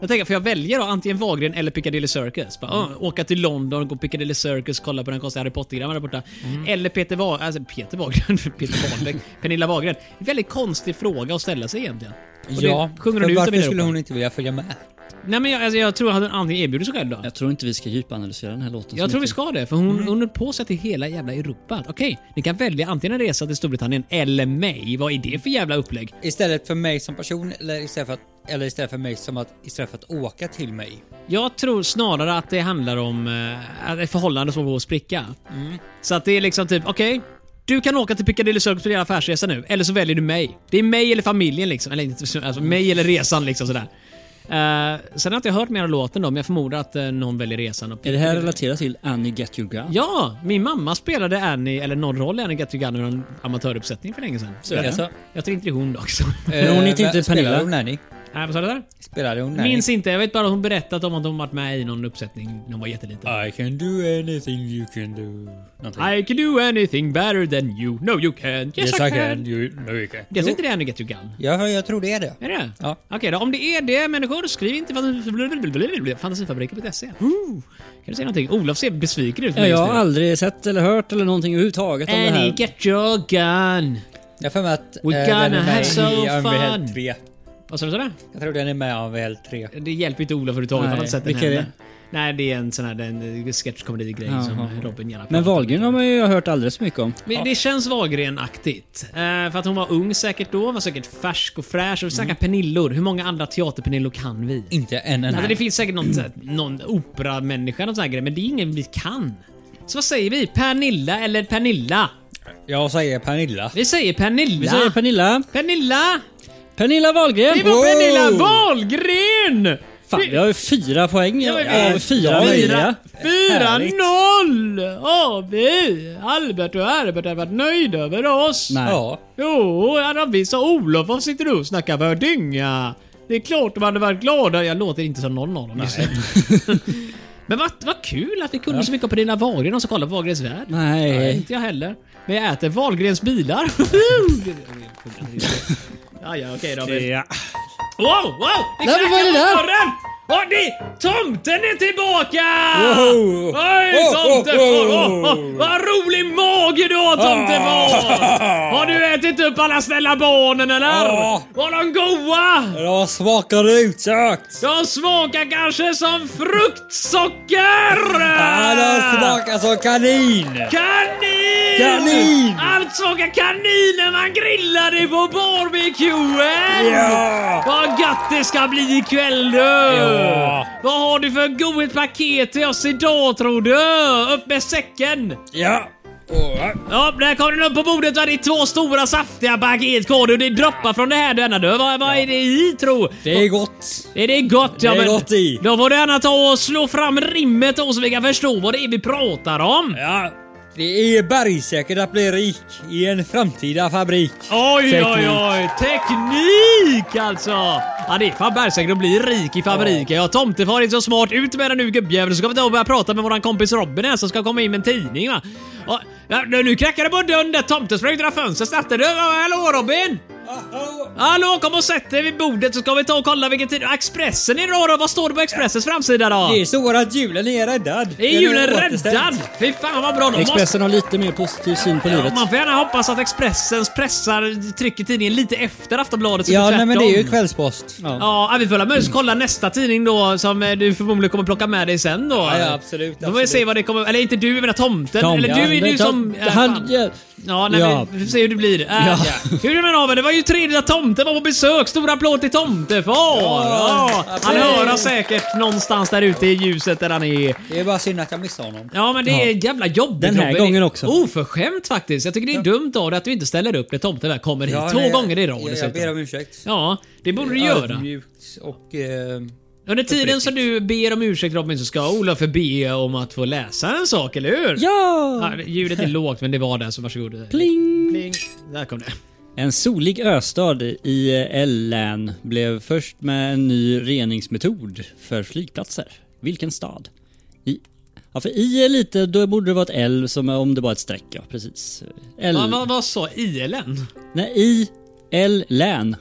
[SPEAKER 3] Jag tänker, för jag väljer då antingen Wahlgren eller Piccadilly Circus. Bara, ah, åka till London, gå Piccadilly Circus, kolla på den konstiga Harry Potter-grammen där borta.
[SPEAKER 2] Mm.
[SPEAKER 3] Eller Peter Wahlgren, alltså Peter Wahlgren, Peter Wahlbeck, Pernilla Wahlgren. En väldigt konstig fråga att ställa sig egentligen. Och det
[SPEAKER 2] Ja,
[SPEAKER 3] sjunger hon
[SPEAKER 2] för
[SPEAKER 3] ut den
[SPEAKER 2] varför
[SPEAKER 3] i
[SPEAKER 2] skulle
[SPEAKER 3] Europa.
[SPEAKER 2] hon inte vilja följa med?
[SPEAKER 3] Nej men jag, alltså, jag tror att hon antingen erbjuder sig själv då.
[SPEAKER 1] Jag tror inte vi ska djupanalysera den här låten.
[SPEAKER 3] Jag
[SPEAKER 1] så
[SPEAKER 3] tror vi
[SPEAKER 1] mycket.
[SPEAKER 3] ska det, för
[SPEAKER 2] Mm.
[SPEAKER 3] hon, hon höll på sig till hela jävla Europa. Att, Okej, ni kan välja antingen en resa till Storbritannien eller mig. Vad är det för jävla upplägg?
[SPEAKER 2] Istället för mig som person eller istället för att, eller istället för mig som att, istället för att åka till mig.
[SPEAKER 3] Jag tror snarare att det handlar om eh, att ett förhållande som får spricka. Så att det är liksom typ, okej. du kan åka till Piccadilly Circus på din affärsresa nu, eller så väljer du mig. Det är mig eller familjen liksom. Eller inte, alltså mig eller resan liksom sådär. Uh, sen har inte jag hört mer av låten då, men jag förmodar att eh, någon väljer resan. Och
[SPEAKER 1] Är det här relaterat till Annie Get Your Gun?
[SPEAKER 3] Ja, min mamma spelade Annie, eller någon roll i Annie Get Your Gun ur en amatöruppsättning för länge sedan. Så jag,
[SPEAKER 2] Jaså?
[SPEAKER 3] jag tror inte det är hon dock. så.
[SPEAKER 1] Men hon heter inte Pernilla.
[SPEAKER 2] Spelade Eh, hon Nanny?
[SPEAKER 3] Nej, vad sa du där?
[SPEAKER 2] Spelade hon Nanny?
[SPEAKER 3] Minns inte, jag vet bara att hon berättat om att hon varit med i någon uppsättning när hon var jätteliten.
[SPEAKER 2] I can do anything you can do. Någonting.
[SPEAKER 3] I can do anything better than you. No you can't. Yes, I can.
[SPEAKER 2] You, no, you can.
[SPEAKER 3] Jag tror inte det är Annie Get Your Gun.
[SPEAKER 2] Ja, jag tror det är det.
[SPEAKER 3] Är det?
[SPEAKER 2] Ja.
[SPEAKER 3] Okej då, om det är det människor, skriv inte fant- fantasifabriken.se. Ooh. E. Kan du säga någonting? Olof ser besviken ut.
[SPEAKER 1] Ja, jag har aldrig sett eller hört eller någonting överhuvudtaget om det
[SPEAKER 3] Annie
[SPEAKER 1] här.
[SPEAKER 3] Get Your Gun.
[SPEAKER 2] Jag har för mig att
[SPEAKER 3] We
[SPEAKER 2] eh,
[SPEAKER 3] gonna
[SPEAKER 2] den är
[SPEAKER 3] have
[SPEAKER 2] med
[SPEAKER 3] so
[SPEAKER 2] i
[SPEAKER 3] fun.
[SPEAKER 2] Unreal 3.
[SPEAKER 3] Vad sa du? sa du?
[SPEAKER 2] Jag tror den är med i Unreal 3.
[SPEAKER 3] Det hjälper inte Ola överhuvudtaget. Han har inte sett den
[SPEAKER 1] vilka är det?
[SPEAKER 3] heller. Nej, det är en sån här den, sketchkomedi-grej som
[SPEAKER 1] Jaha.
[SPEAKER 3] Robin gärna
[SPEAKER 1] Men
[SPEAKER 3] pratar om.
[SPEAKER 1] Wahlgren har man ju hört alldeles för mycket om.
[SPEAKER 3] Men det känns Wahlgren-aktigt. Eh, för att hon var ung säkert då, var säkert färsk och fräsch. Och vi
[SPEAKER 1] Mm.
[SPEAKER 3] snackar Pernillor. Hur många andra teaterpernillor kan vi?
[SPEAKER 2] Inte en enda.
[SPEAKER 3] Alltså, det finns säkert någon, så här- någon operamänniska, någon sån här grej, men det är ingen vi kan. Så vad säger vi? Pernilla eller Pernilla?
[SPEAKER 2] Jag säger Pernilla.
[SPEAKER 3] Vi säger Pernilla.
[SPEAKER 1] Vi säger Pernilla.
[SPEAKER 3] Pernilla!
[SPEAKER 1] Pernilla Wahlgren!
[SPEAKER 3] Det var
[SPEAKER 1] Wow!
[SPEAKER 3] Pernilla Wahlgren!
[SPEAKER 1] Fan, vi har ju fyra poäng
[SPEAKER 3] Ja, men vi-
[SPEAKER 1] av fyra möjliga.
[SPEAKER 3] 4-0 har vi! Albert och Herbert har varit nöjda över oss.
[SPEAKER 1] Nej.
[SPEAKER 2] Ja.
[SPEAKER 3] Jo, Aravis och Olof, varför sitter du och snackar för dynga? Det är klart de hade varit glada. Jag låter inte som någon av dem just nu. Men vad, vad kul att vi kunde så mycket om Pernilla Wahlgren och så kolla på Wahlgrens värld.
[SPEAKER 1] Nej.
[SPEAKER 3] Inte jag heller. Men jag äter Wahlgrens bilar. ja, ja, okej Robin. Wow, wow! Det
[SPEAKER 1] Nej, men vad är det där?
[SPEAKER 3] på dörren! Åh, det, tomten är tillbaka!
[SPEAKER 2] Wow.
[SPEAKER 3] Oj,
[SPEAKER 2] Wow,
[SPEAKER 3] tomten!
[SPEAKER 2] wow,
[SPEAKER 3] Åh,
[SPEAKER 2] wow.
[SPEAKER 3] åh, åh, vad rolig mage du har, tomten var! Har du ätit upp alla snälla barnen eller?
[SPEAKER 2] Ja.
[SPEAKER 3] Var de goa?
[SPEAKER 2] Jag smakar utsökt!
[SPEAKER 3] De smakar kanske som fruktsocker!
[SPEAKER 2] Ja, den smakar som kanin!
[SPEAKER 3] Kanin!
[SPEAKER 2] Kanin!
[SPEAKER 3] Allt smakar kanin när man grillar det på barbecuen!
[SPEAKER 2] Ja!
[SPEAKER 3] Vad gött det ska bli ikväll du!
[SPEAKER 2] Ja.
[SPEAKER 3] Vad har du för godhet paket till oss idag tror du? Upp med säcken!
[SPEAKER 2] Ja! Åh,
[SPEAKER 3] Ja, där kom den upp på bordet. va? Det är två stora saftiga paket kvar du. Det droppar från det här denna du. Vad, vad är det i tro?
[SPEAKER 2] Det är gott!
[SPEAKER 3] Är det gott?
[SPEAKER 2] Det är gott i.
[SPEAKER 3] Då får du gärna ta och slå fram rimmet då så vi kan förstå vad det är vi pratar om.
[SPEAKER 2] Ja. Det är bergsäkert att bli rik i en framtida fabrik.
[SPEAKER 3] Oj, oj,
[SPEAKER 2] Teknik.
[SPEAKER 3] oj! Teknik alltså! Ja, det är fan bergsäkert att bli rik i fabriken. Ja, tomtefar är så smart. Ut med den nu gubbjävel så ska vi ta och börja prata med våran kompis Robin här som ska komma in med en tidning va. Ja, ja, nu nu knackar det på dörren där. Tomten sprang ut genom fönstret. Satte du? Ja, Hallå Robin! Hallå, kom och sätt dig vid bordet så ska vi ta och kolla vilken tid... Expressen idag då? Vad står det på Expressens framsida då?
[SPEAKER 2] Det står att julen är räddad.
[SPEAKER 3] Är
[SPEAKER 2] Den
[SPEAKER 3] julen
[SPEAKER 2] återställd.
[SPEAKER 3] räddad? Fy fan vad bra. De måste
[SPEAKER 1] Expressen har lite mer positiv syn på livet.
[SPEAKER 3] Ja, man får gärna hoppas att Expressens pressar trycker tidningen lite efter Aftonbladet. så
[SPEAKER 2] Ja,
[SPEAKER 3] tvärtom.
[SPEAKER 2] nej, men det är ju kvällspost.
[SPEAKER 3] Ja, vi får väl kolla nästa tidning då som eh, du förmodligen kommer plocka med dig sen då.
[SPEAKER 2] Ja, ja, absolut,
[SPEAKER 3] Då får vi se
[SPEAKER 2] absolut.
[SPEAKER 3] vad det kommer... Eller inte du, jag menar tomten. eller du är du som... ja,
[SPEAKER 1] Han,
[SPEAKER 3] fan. Ja, nej,
[SPEAKER 1] Ja.
[SPEAKER 3] Men, vi får se hur det blir. Äh, ja. Hur är det med Robin? Det var ju trevligt att tomten var på besök. Stor applåd till tomtefar! Ja, han hör oss säkert någonstans där ute i ljuset där han är.
[SPEAKER 2] Det är bara synd att jag missade honom.
[SPEAKER 3] Ja, men det är jävla jobbigt
[SPEAKER 1] Den här
[SPEAKER 3] Robin.
[SPEAKER 1] gången också.
[SPEAKER 3] Oförskämt faktiskt. Jag tycker det är dumt av dig att du inte ställer upp när tomten väl kommer hit.
[SPEAKER 2] Ja,
[SPEAKER 3] Två
[SPEAKER 2] nej,
[SPEAKER 3] gånger i rad
[SPEAKER 2] jag, jag
[SPEAKER 3] dessutom.
[SPEAKER 2] ber om ursäkt.
[SPEAKER 3] Ja, det borde du göra.
[SPEAKER 2] Ödmjukt och... Eh,
[SPEAKER 3] Under tiden som du ber om ursäkt Robin så ska Olof be om att få läsa en sak, eller hur?
[SPEAKER 1] ja!
[SPEAKER 3] Ja, Ljudet är lågt men det var där så varsågod.
[SPEAKER 1] Pling!
[SPEAKER 3] Pling. Där kom det.
[SPEAKER 1] En solig östad i L-län blev först med en ny reningsmetod för flygplatser. Vilken stad? I, ja, för I är lite, då borde det vara ett L som om det var ett streck. Ja, precis. L,
[SPEAKER 3] Vad vad- vad sa ILN?
[SPEAKER 1] Nej, I, L-län.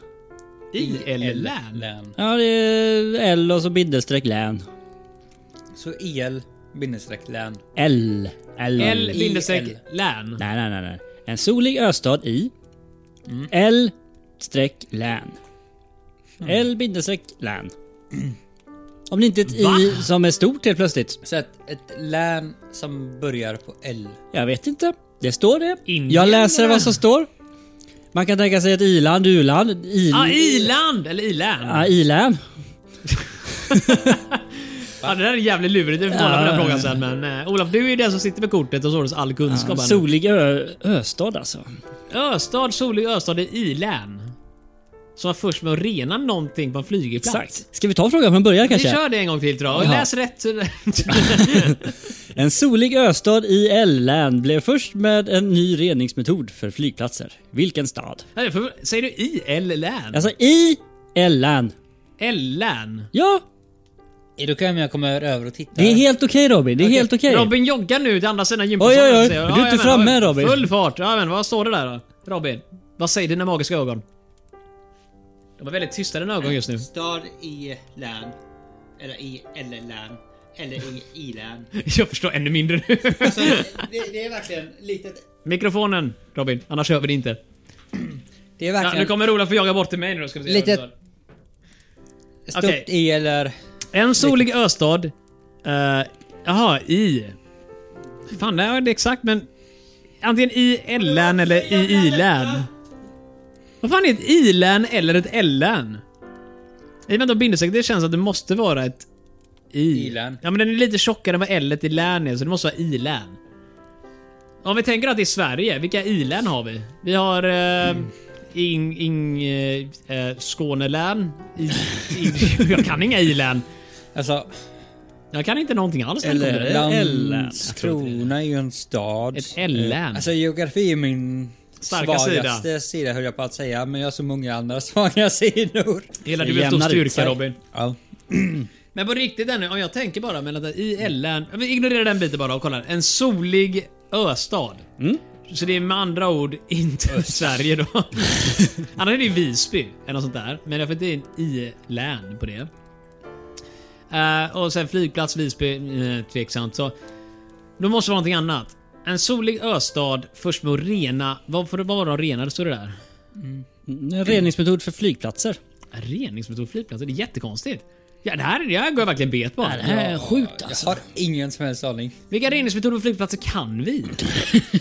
[SPEAKER 3] ILN?
[SPEAKER 2] Län.
[SPEAKER 1] Ja, det är L och så bindestreck län.
[SPEAKER 2] Så el bindestreck län.
[SPEAKER 1] L. L.
[SPEAKER 3] L bindestreck
[SPEAKER 2] IL.
[SPEAKER 3] län.
[SPEAKER 1] Nej, nej, nej, nej. En solig östad i L streck län.
[SPEAKER 3] Mm.
[SPEAKER 1] L bindestreck län. Om det inte är ett i som är stort helt plötsligt.
[SPEAKER 2] Så ett, ett län som börjar på L.
[SPEAKER 1] Jag vet inte. Det står det.
[SPEAKER 3] Indien,
[SPEAKER 1] Jag läser
[SPEAKER 3] eller?
[SPEAKER 1] vad som står. Man kan tänka sig ett i-land, u-land, i...
[SPEAKER 3] Ja, iland eller ilän.
[SPEAKER 1] Ja, i-län.
[SPEAKER 3] Ja, det där är jävligt lurigt. Vi får kolla på den här frågan sen. Men eh, Olof, du är ju den som sitter med kortet och således all kunskap. här nu.
[SPEAKER 1] Solig ö, östad alltså.
[SPEAKER 3] Östad, solig Östad i ilän. Som var först med att rena någonting på en flygplats.
[SPEAKER 1] Exakt. Ska vi ta frågan från början
[SPEAKER 3] Vi
[SPEAKER 1] kanske?
[SPEAKER 3] kör det en gång till tror jag. Och
[SPEAKER 1] Jaha.
[SPEAKER 3] läs rätt.
[SPEAKER 1] En solig östad i L-län blev först med en ny reningsmetod för flygplatser. Vilken stad?
[SPEAKER 3] Nej, för- Säger du IL-län?
[SPEAKER 1] Alltså i L-län.
[SPEAKER 3] L-län?
[SPEAKER 1] Ja,
[SPEAKER 2] Är du okej om Eh, jag kommer över och tittar?
[SPEAKER 1] det är helt okej Robin. Det är helt okej.
[SPEAKER 3] Robin joggar nu till andra sidan gympasalen.
[SPEAKER 1] Oj, oj, oj.
[SPEAKER 3] säger jag.
[SPEAKER 1] Du är inte
[SPEAKER 3] jajamän,
[SPEAKER 1] framme,
[SPEAKER 3] oj.
[SPEAKER 1] Robin.
[SPEAKER 3] Full fart. Ja, men vad står det där då? Robin, vad säger dina magiska ögon? De är väldigt tysta dina ögon just nu.
[SPEAKER 2] Stad i län. Eller i L-län. Eller i I-län.
[SPEAKER 3] Jag förstår ännu mindre nu.
[SPEAKER 2] Alltså, det, det är verkligen litet...
[SPEAKER 3] Mikrofonen Robin, annars hör vi det inte.
[SPEAKER 2] Det är
[SPEAKER 3] Ja,
[SPEAKER 2] verkligen
[SPEAKER 3] nu kommer Olof att jaga bort till mig nu då ska vi se.
[SPEAKER 2] Litet-
[SPEAKER 3] Vänta.
[SPEAKER 2] stort
[SPEAKER 3] okej. Alltså,
[SPEAKER 2] i eller...
[SPEAKER 3] En solig östad. eh, Jaha, i... Fan, nej, det är exakt men... Antingen i L-län eller i I-län. Vad fan är ett I-län eller ett L-län? I och med att bindestreck, det känns att det måste vara ett... I.
[SPEAKER 2] I-län.
[SPEAKER 3] Ja men den är lite tjockare än vad L i län är, så det måste vara I-län. Om vi tänker att det är Sverige, vilka I-län har vi? Vi har... eh, Ing... ing eh, eh, Skånelän. I, i, jag kan inga I-län.
[SPEAKER 2] Alltså,
[SPEAKER 3] Jag kan inte någonting alls.
[SPEAKER 1] Eller-
[SPEAKER 3] Eller...
[SPEAKER 2] Landskrona är ju en stad.
[SPEAKER 3] Ett L-län.
[SPEAKER 2] Alltså geografi är min
[SPEAKER 3] Starka
[SPEAKER 2] svagaste sida. höll jag på att säga. Men jag har så många andra svaga sidor.
[SPEAKER 3] Gillar
[SPEAKER 1] Det
[SPEAKER 3] du att stå
[SPEAKER 1] jämnar ut
[SPEAKER 3] styrka
[SPEAKER 1] sig.
[SPEAKER 3] Robin?
[SPEAKER 2] Ja.
[SPEAKER 3] Men på riktigt ännu, om jag tänker bara men att i L-län... Vi ignorerar den biten bara och kollar. En solig östad. Så det är med andra ord inte Sverige då. Annars är det ju Visby eller något sånt där. Men därför att det är en I-län på det. Eh, och sen flygplats Visby, eh, tveksamt. Så då måste det vara någonting annat. En solig östad först med att rena... Vad får det vara de renade? Står det där?
[SPEAKER 1] En reningsmetod för flygplatser.
[SPEAKER 3] Reningsmetod flygplatser? Det är jättekonstigt. Ja, det här, det här går jag verkligen bet på.
[SPEAKER 1] Det här är sjukt
[SPEAKER 2] Jag
[SPEAKER 1] alltså.
[SPEAKER 2] har ingen som helst aning.
[SPEAKER 3] Vilka reningsmetoder på flygplatser kan vi?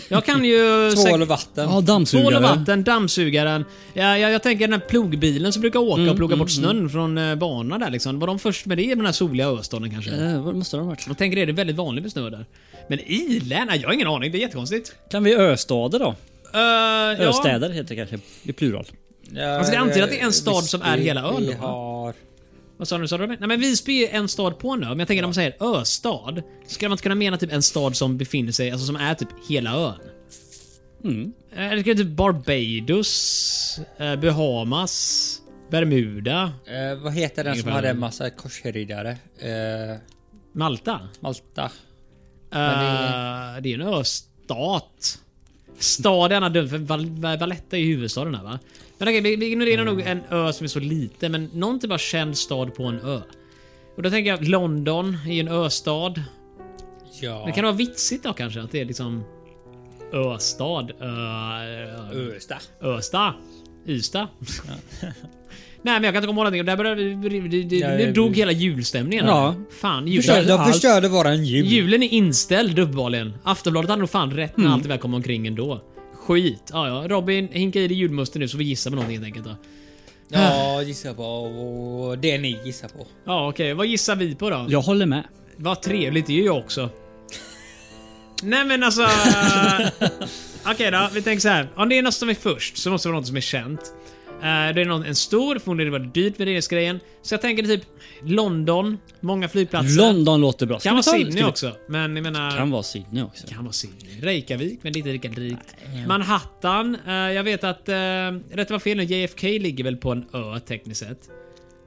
[SPEAKER 3] Jag kan ju...
[SPEAKER 2] Tvål
[SPEAKER 3] säkert-
[SPEAKER 2] och vatten.
[SPEAKER 1] Ja, dammsugare.
[SPEAKER 3] Tvål och vatten, dammsugaren. Ja, jag, jag tänker den här plogbilen som brukar
[SPEAKER 1] Mm,
[SPEAKER 3] åka och ploga bort snön från eh, banan där liksom. Var de först med det i den här soliga östaden kanske?
[SPEAKER 1] Eh, vad måste det ha varit?
[SPEAKER 3] Jag tänker det, det är väldigt vanligt med snö där. Men i-län? Nej, Jag har ingen aning, det är jättekonstigt.
[SPEAKER 1] Kan vi östader då?
[SPEAKER 3] Uh, ja.
[SPEAKER 1] Östäder heter det kanske. I plural.
[SPEAKER 2] Ja,
[SPEAKER 3] Alltså, det antyder att det är en stad som är hela ön
[SPEAKER 2] Vi
[SPEAKER 3] då, va?
[SPEAKER 2] har...
[SPEAKER 3] Vad sa du? Sa du det? Nej men Visby är en stad på en ö, men jag tänker när man säger östad, så skulle man inte kunna mena typ en stad som befinner sig, alltså som är typ hela ön? Mm. Eller typ Barbados, eh, Bahamas, Bermuda,
[SPEAKER 2] Eh, vad heter den som
[SPEAKER 3] Ingen
[SPEAKER 2] hade
[SPEAKER 3] aning.
[SPEAKER 2] en massa korsriddare? Eh,
[SPEAKER 3] Malta.
[SPEAKER 2] Malta.
[SPEAKER 3] Eh, det är ju en östat. Stad är annat dumt, för Val- Val- Valletta är ju huvudstaden här va? Men okej, vi, vi ignorerar nog en ö som är så liten, men någon typ av känd stad på en ö. Och då tänker jag att London är ju en östad.
[SPEAKER 2] Ja.
[SPEAKER 3] Det kan vara vitsigt då kanske att det är liksom Östad, ö, ö,
[SPEAKER 2] Östa.
[SPEAKER 3] Östa, Ystad. Nej men jag kan inte komma ihåg någonting. Där började, det, det,
[SPEAKER 2] Ja,
[SPEAKER 3] det,
[SPEAKER 2] det-
[SPEAKER 3] nu dog hela julstämningen.
[SPEAKER 1] Ja.
[SPEAKER 3] här. Fan, julen.
[SPEAKER 1] Förstörde.
[SPEAKER 2] De
[SPEAKER 1] allt.
[SPEAKER 2] förstörde våran jul.
[SPEAKER 3] Julen är inställd uppenbarligen. Aftonbladet hade nog fan rätt när
[SPEAKER 2] Mm.
[SPEAKER 3] allt det väl kom omkring ändå. Skit. Ja, ja. Robin, hinka i dig julmusten nu så vi gissar på någonting helt enkelt. Då.
[SPEAKER 2] Ja, gissa på det ni gissar på.
[SPEAKER 3] Ja okej, vad gissar vi på då?
[SPEAKER 1] Jag håller med.
[SPEAKER 3] Vad trevligt, det är ju jag också. Nej men alltså... Okej då, vi tänker så här. Om det är något som är först så måste det vara något som är känt. Eh, Det är någon, en stor, förmodligen det var dyrt med resgrejen. Så jag tänker typ London, många flygplatser.
[SPEAKER 1] London låter bra. Ska
[SPEAKER 3] Kan vara
[SPEAKER 1] vi ta-
[SPEAKER 3] Sydney
[SPEAKER 1] ska vi-
[SPEAKER 3] också, men jag menar...
[SPEAKER 1] Kan vara Sydney också.
[SPEAKER 3] kan vara Sydney. Reykjavik, men lite lika drygt. Manhattan. eh, jag vet att... Uh, rätt var fel nu, JFK ligger väl på en ö tekniskt sett.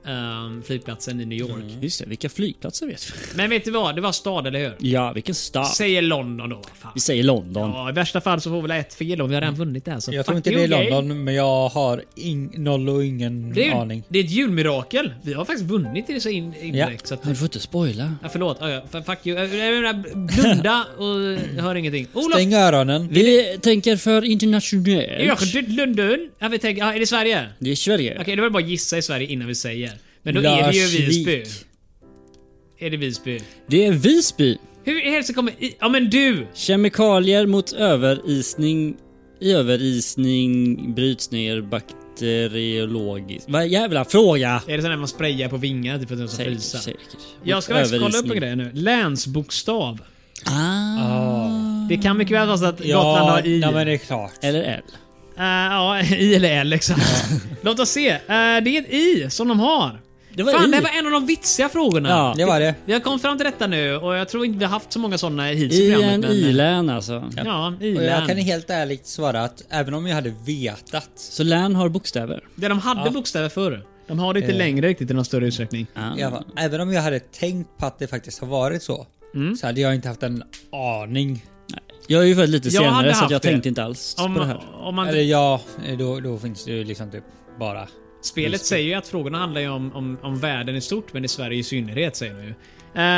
[SPEAKER 3] Ehm, flygplatsen i New York.
[SPEAKER 1] Just det, vilka flygplatser vet vi?
[SPEAKER 3] Men vet du vad? Det var stad, eller hur?
[SPEAKER 1] Ja, vilken stad.
[SPEAKER 3] Säger London då. Fan.
[SPEAKER 1] Vi säger London.
[SPEAKER 3] Ja, I värsta fall så får vi väl ett fel om vi har redan vunnit det här. Så
[SPEAKER 2] Jag
[SPEAKER 3] fuck
[SPEAKER 2] tror inte
[SPEAKER 3] you,
[SPEAKER 2] det är
[SPEAKER 3] gay.
[SPEAKER 2] London, men jag har ing- noll och ingen
[SPEAKER 3] Det är, ju,
[SPEAKER 2] aning.
[SPEAKER 3] det är ett julmirakel. Vi har faktiskt vunnit det så in, indirekt. Så att,
[SPEAKER 1] Men Du får inte spoila.
[SPEAKER 3] ja, förlåt. Ja, ja, f- fuck you. Jag- jag menar, Blunda och jag hör ingenting. Olof!
[SPEAKER 2] Stäng öronen.
[SPEAKER 1] Vi tänker för internationellt.
[SPEAKER 3] Jag har dött London. Ja, vi tänker, ja, är det Sverige?
[SPEAKER 1] Det är Sverige.
[SPEAKER 3] Okej, det var bara att gissa i Sverige innan vi säger. Men då är det ju
[SPEAKER 2] Larsvik.
[SPEAKER 3] Visby. Är det Visby?
[SPEAKER 1] Det är Visby.
[SPEAKER 3] Hur i helsike kommer... i- Ja men du!
[SPEAKER 1] Kemikalier mot överisning. I överisning bryts ner bakteriologiskt. Vad jävla fråga!
[SPEAKER 3] Är det sån där man sprayar på vingar typ för att den ska
[SPEAKER 1] Säkert,
[SPEAKER 3] frysa?
[SPEAKER 1] säkert.
[SPEAKER 3] Jag
[SPEAKER 1] Mot
[SPEAKER 3] ska faktiskt kolla upp
[SPEAKER 1] överisning.
[SPEAKER 3] en grej nu. Länsbokstav.
[SPEAKER 1] Ah.
[SPEAKER 3] Det kan mycket väl vara så att Gotland
[SPEAKER 2] Ja,
[SPEAKER 3] har i.
[SPEAKER 2] nej, men det är klart.
[SPEAKER 1] Eller L.
[SPEAKER 3] Eh, ja, i eller L liksom. Låt oss se. Eh, det är ett i som de har.
[SPEAKER 1] Det var
[SPEAKER 3] Fan,
[SPEAKER 1] i.
[SPEAKER 3] det här var en av de vitsiga frågorna.
[SPEAKER 1] Ja.
[SPEAKER 2] Det var det.
[SPEAKER 3] Vi har kommit fram till detta nu och jag tror inte vi har haft så många sådana hittills
[SPEAKER 1] I
[SPEAKER 3] programmet,
[SPEAKER 1] en
[SPEAKER 3] men-
[SPEAKER 1] i-län alltså.
[SPEAKER 3] Ja,
[SPEAKER 2] Och jag kan
[SPEAKER 3] i-län.
[SPEAKER 2] helt ärligt svara att även om jag hade vetat
[SPEAKER 1] Så län har bokstäver.
[SPEAKER 3] Där de hade
[SPEAKER 2] Ja.
[SPEAKER 3] bokstäver förr. De har det inte
[SPEAKER 2] Eh.
[SPEAKER 3] längre riktigt i någon större utsträckning.
[SPEAKER 1] Ah.
[SPEAKER 2] I alla fall, även om jag hade tänkt på att det faktiskt har varit så.
[SPEAKER 3] Mm.
[SPEAKER 2] Så hade jag inte haft en aning.
[SPEAKER 1] Jag är ju född lite
[SPEAKER 3] Jag hade
[SPEAKER 1] senare så att
[SPEAKER 3] haft
[SPEAKER 1] jag
[SPEAKER 3] det.
[SPEAKER 1] tänkte inte alls
[SPEAKER 3] Om,
[SPEAKER 1] på det här.
[SPEAKER 3] om man,
[SPEAKER 2] Eller ja, då, då finns det ju liksom typ bara...
[SPEAKER 3] spelet säger ju att frågorna handlar ju om, om, om världen i stort, men i Sverige i synnerhet säger de ju.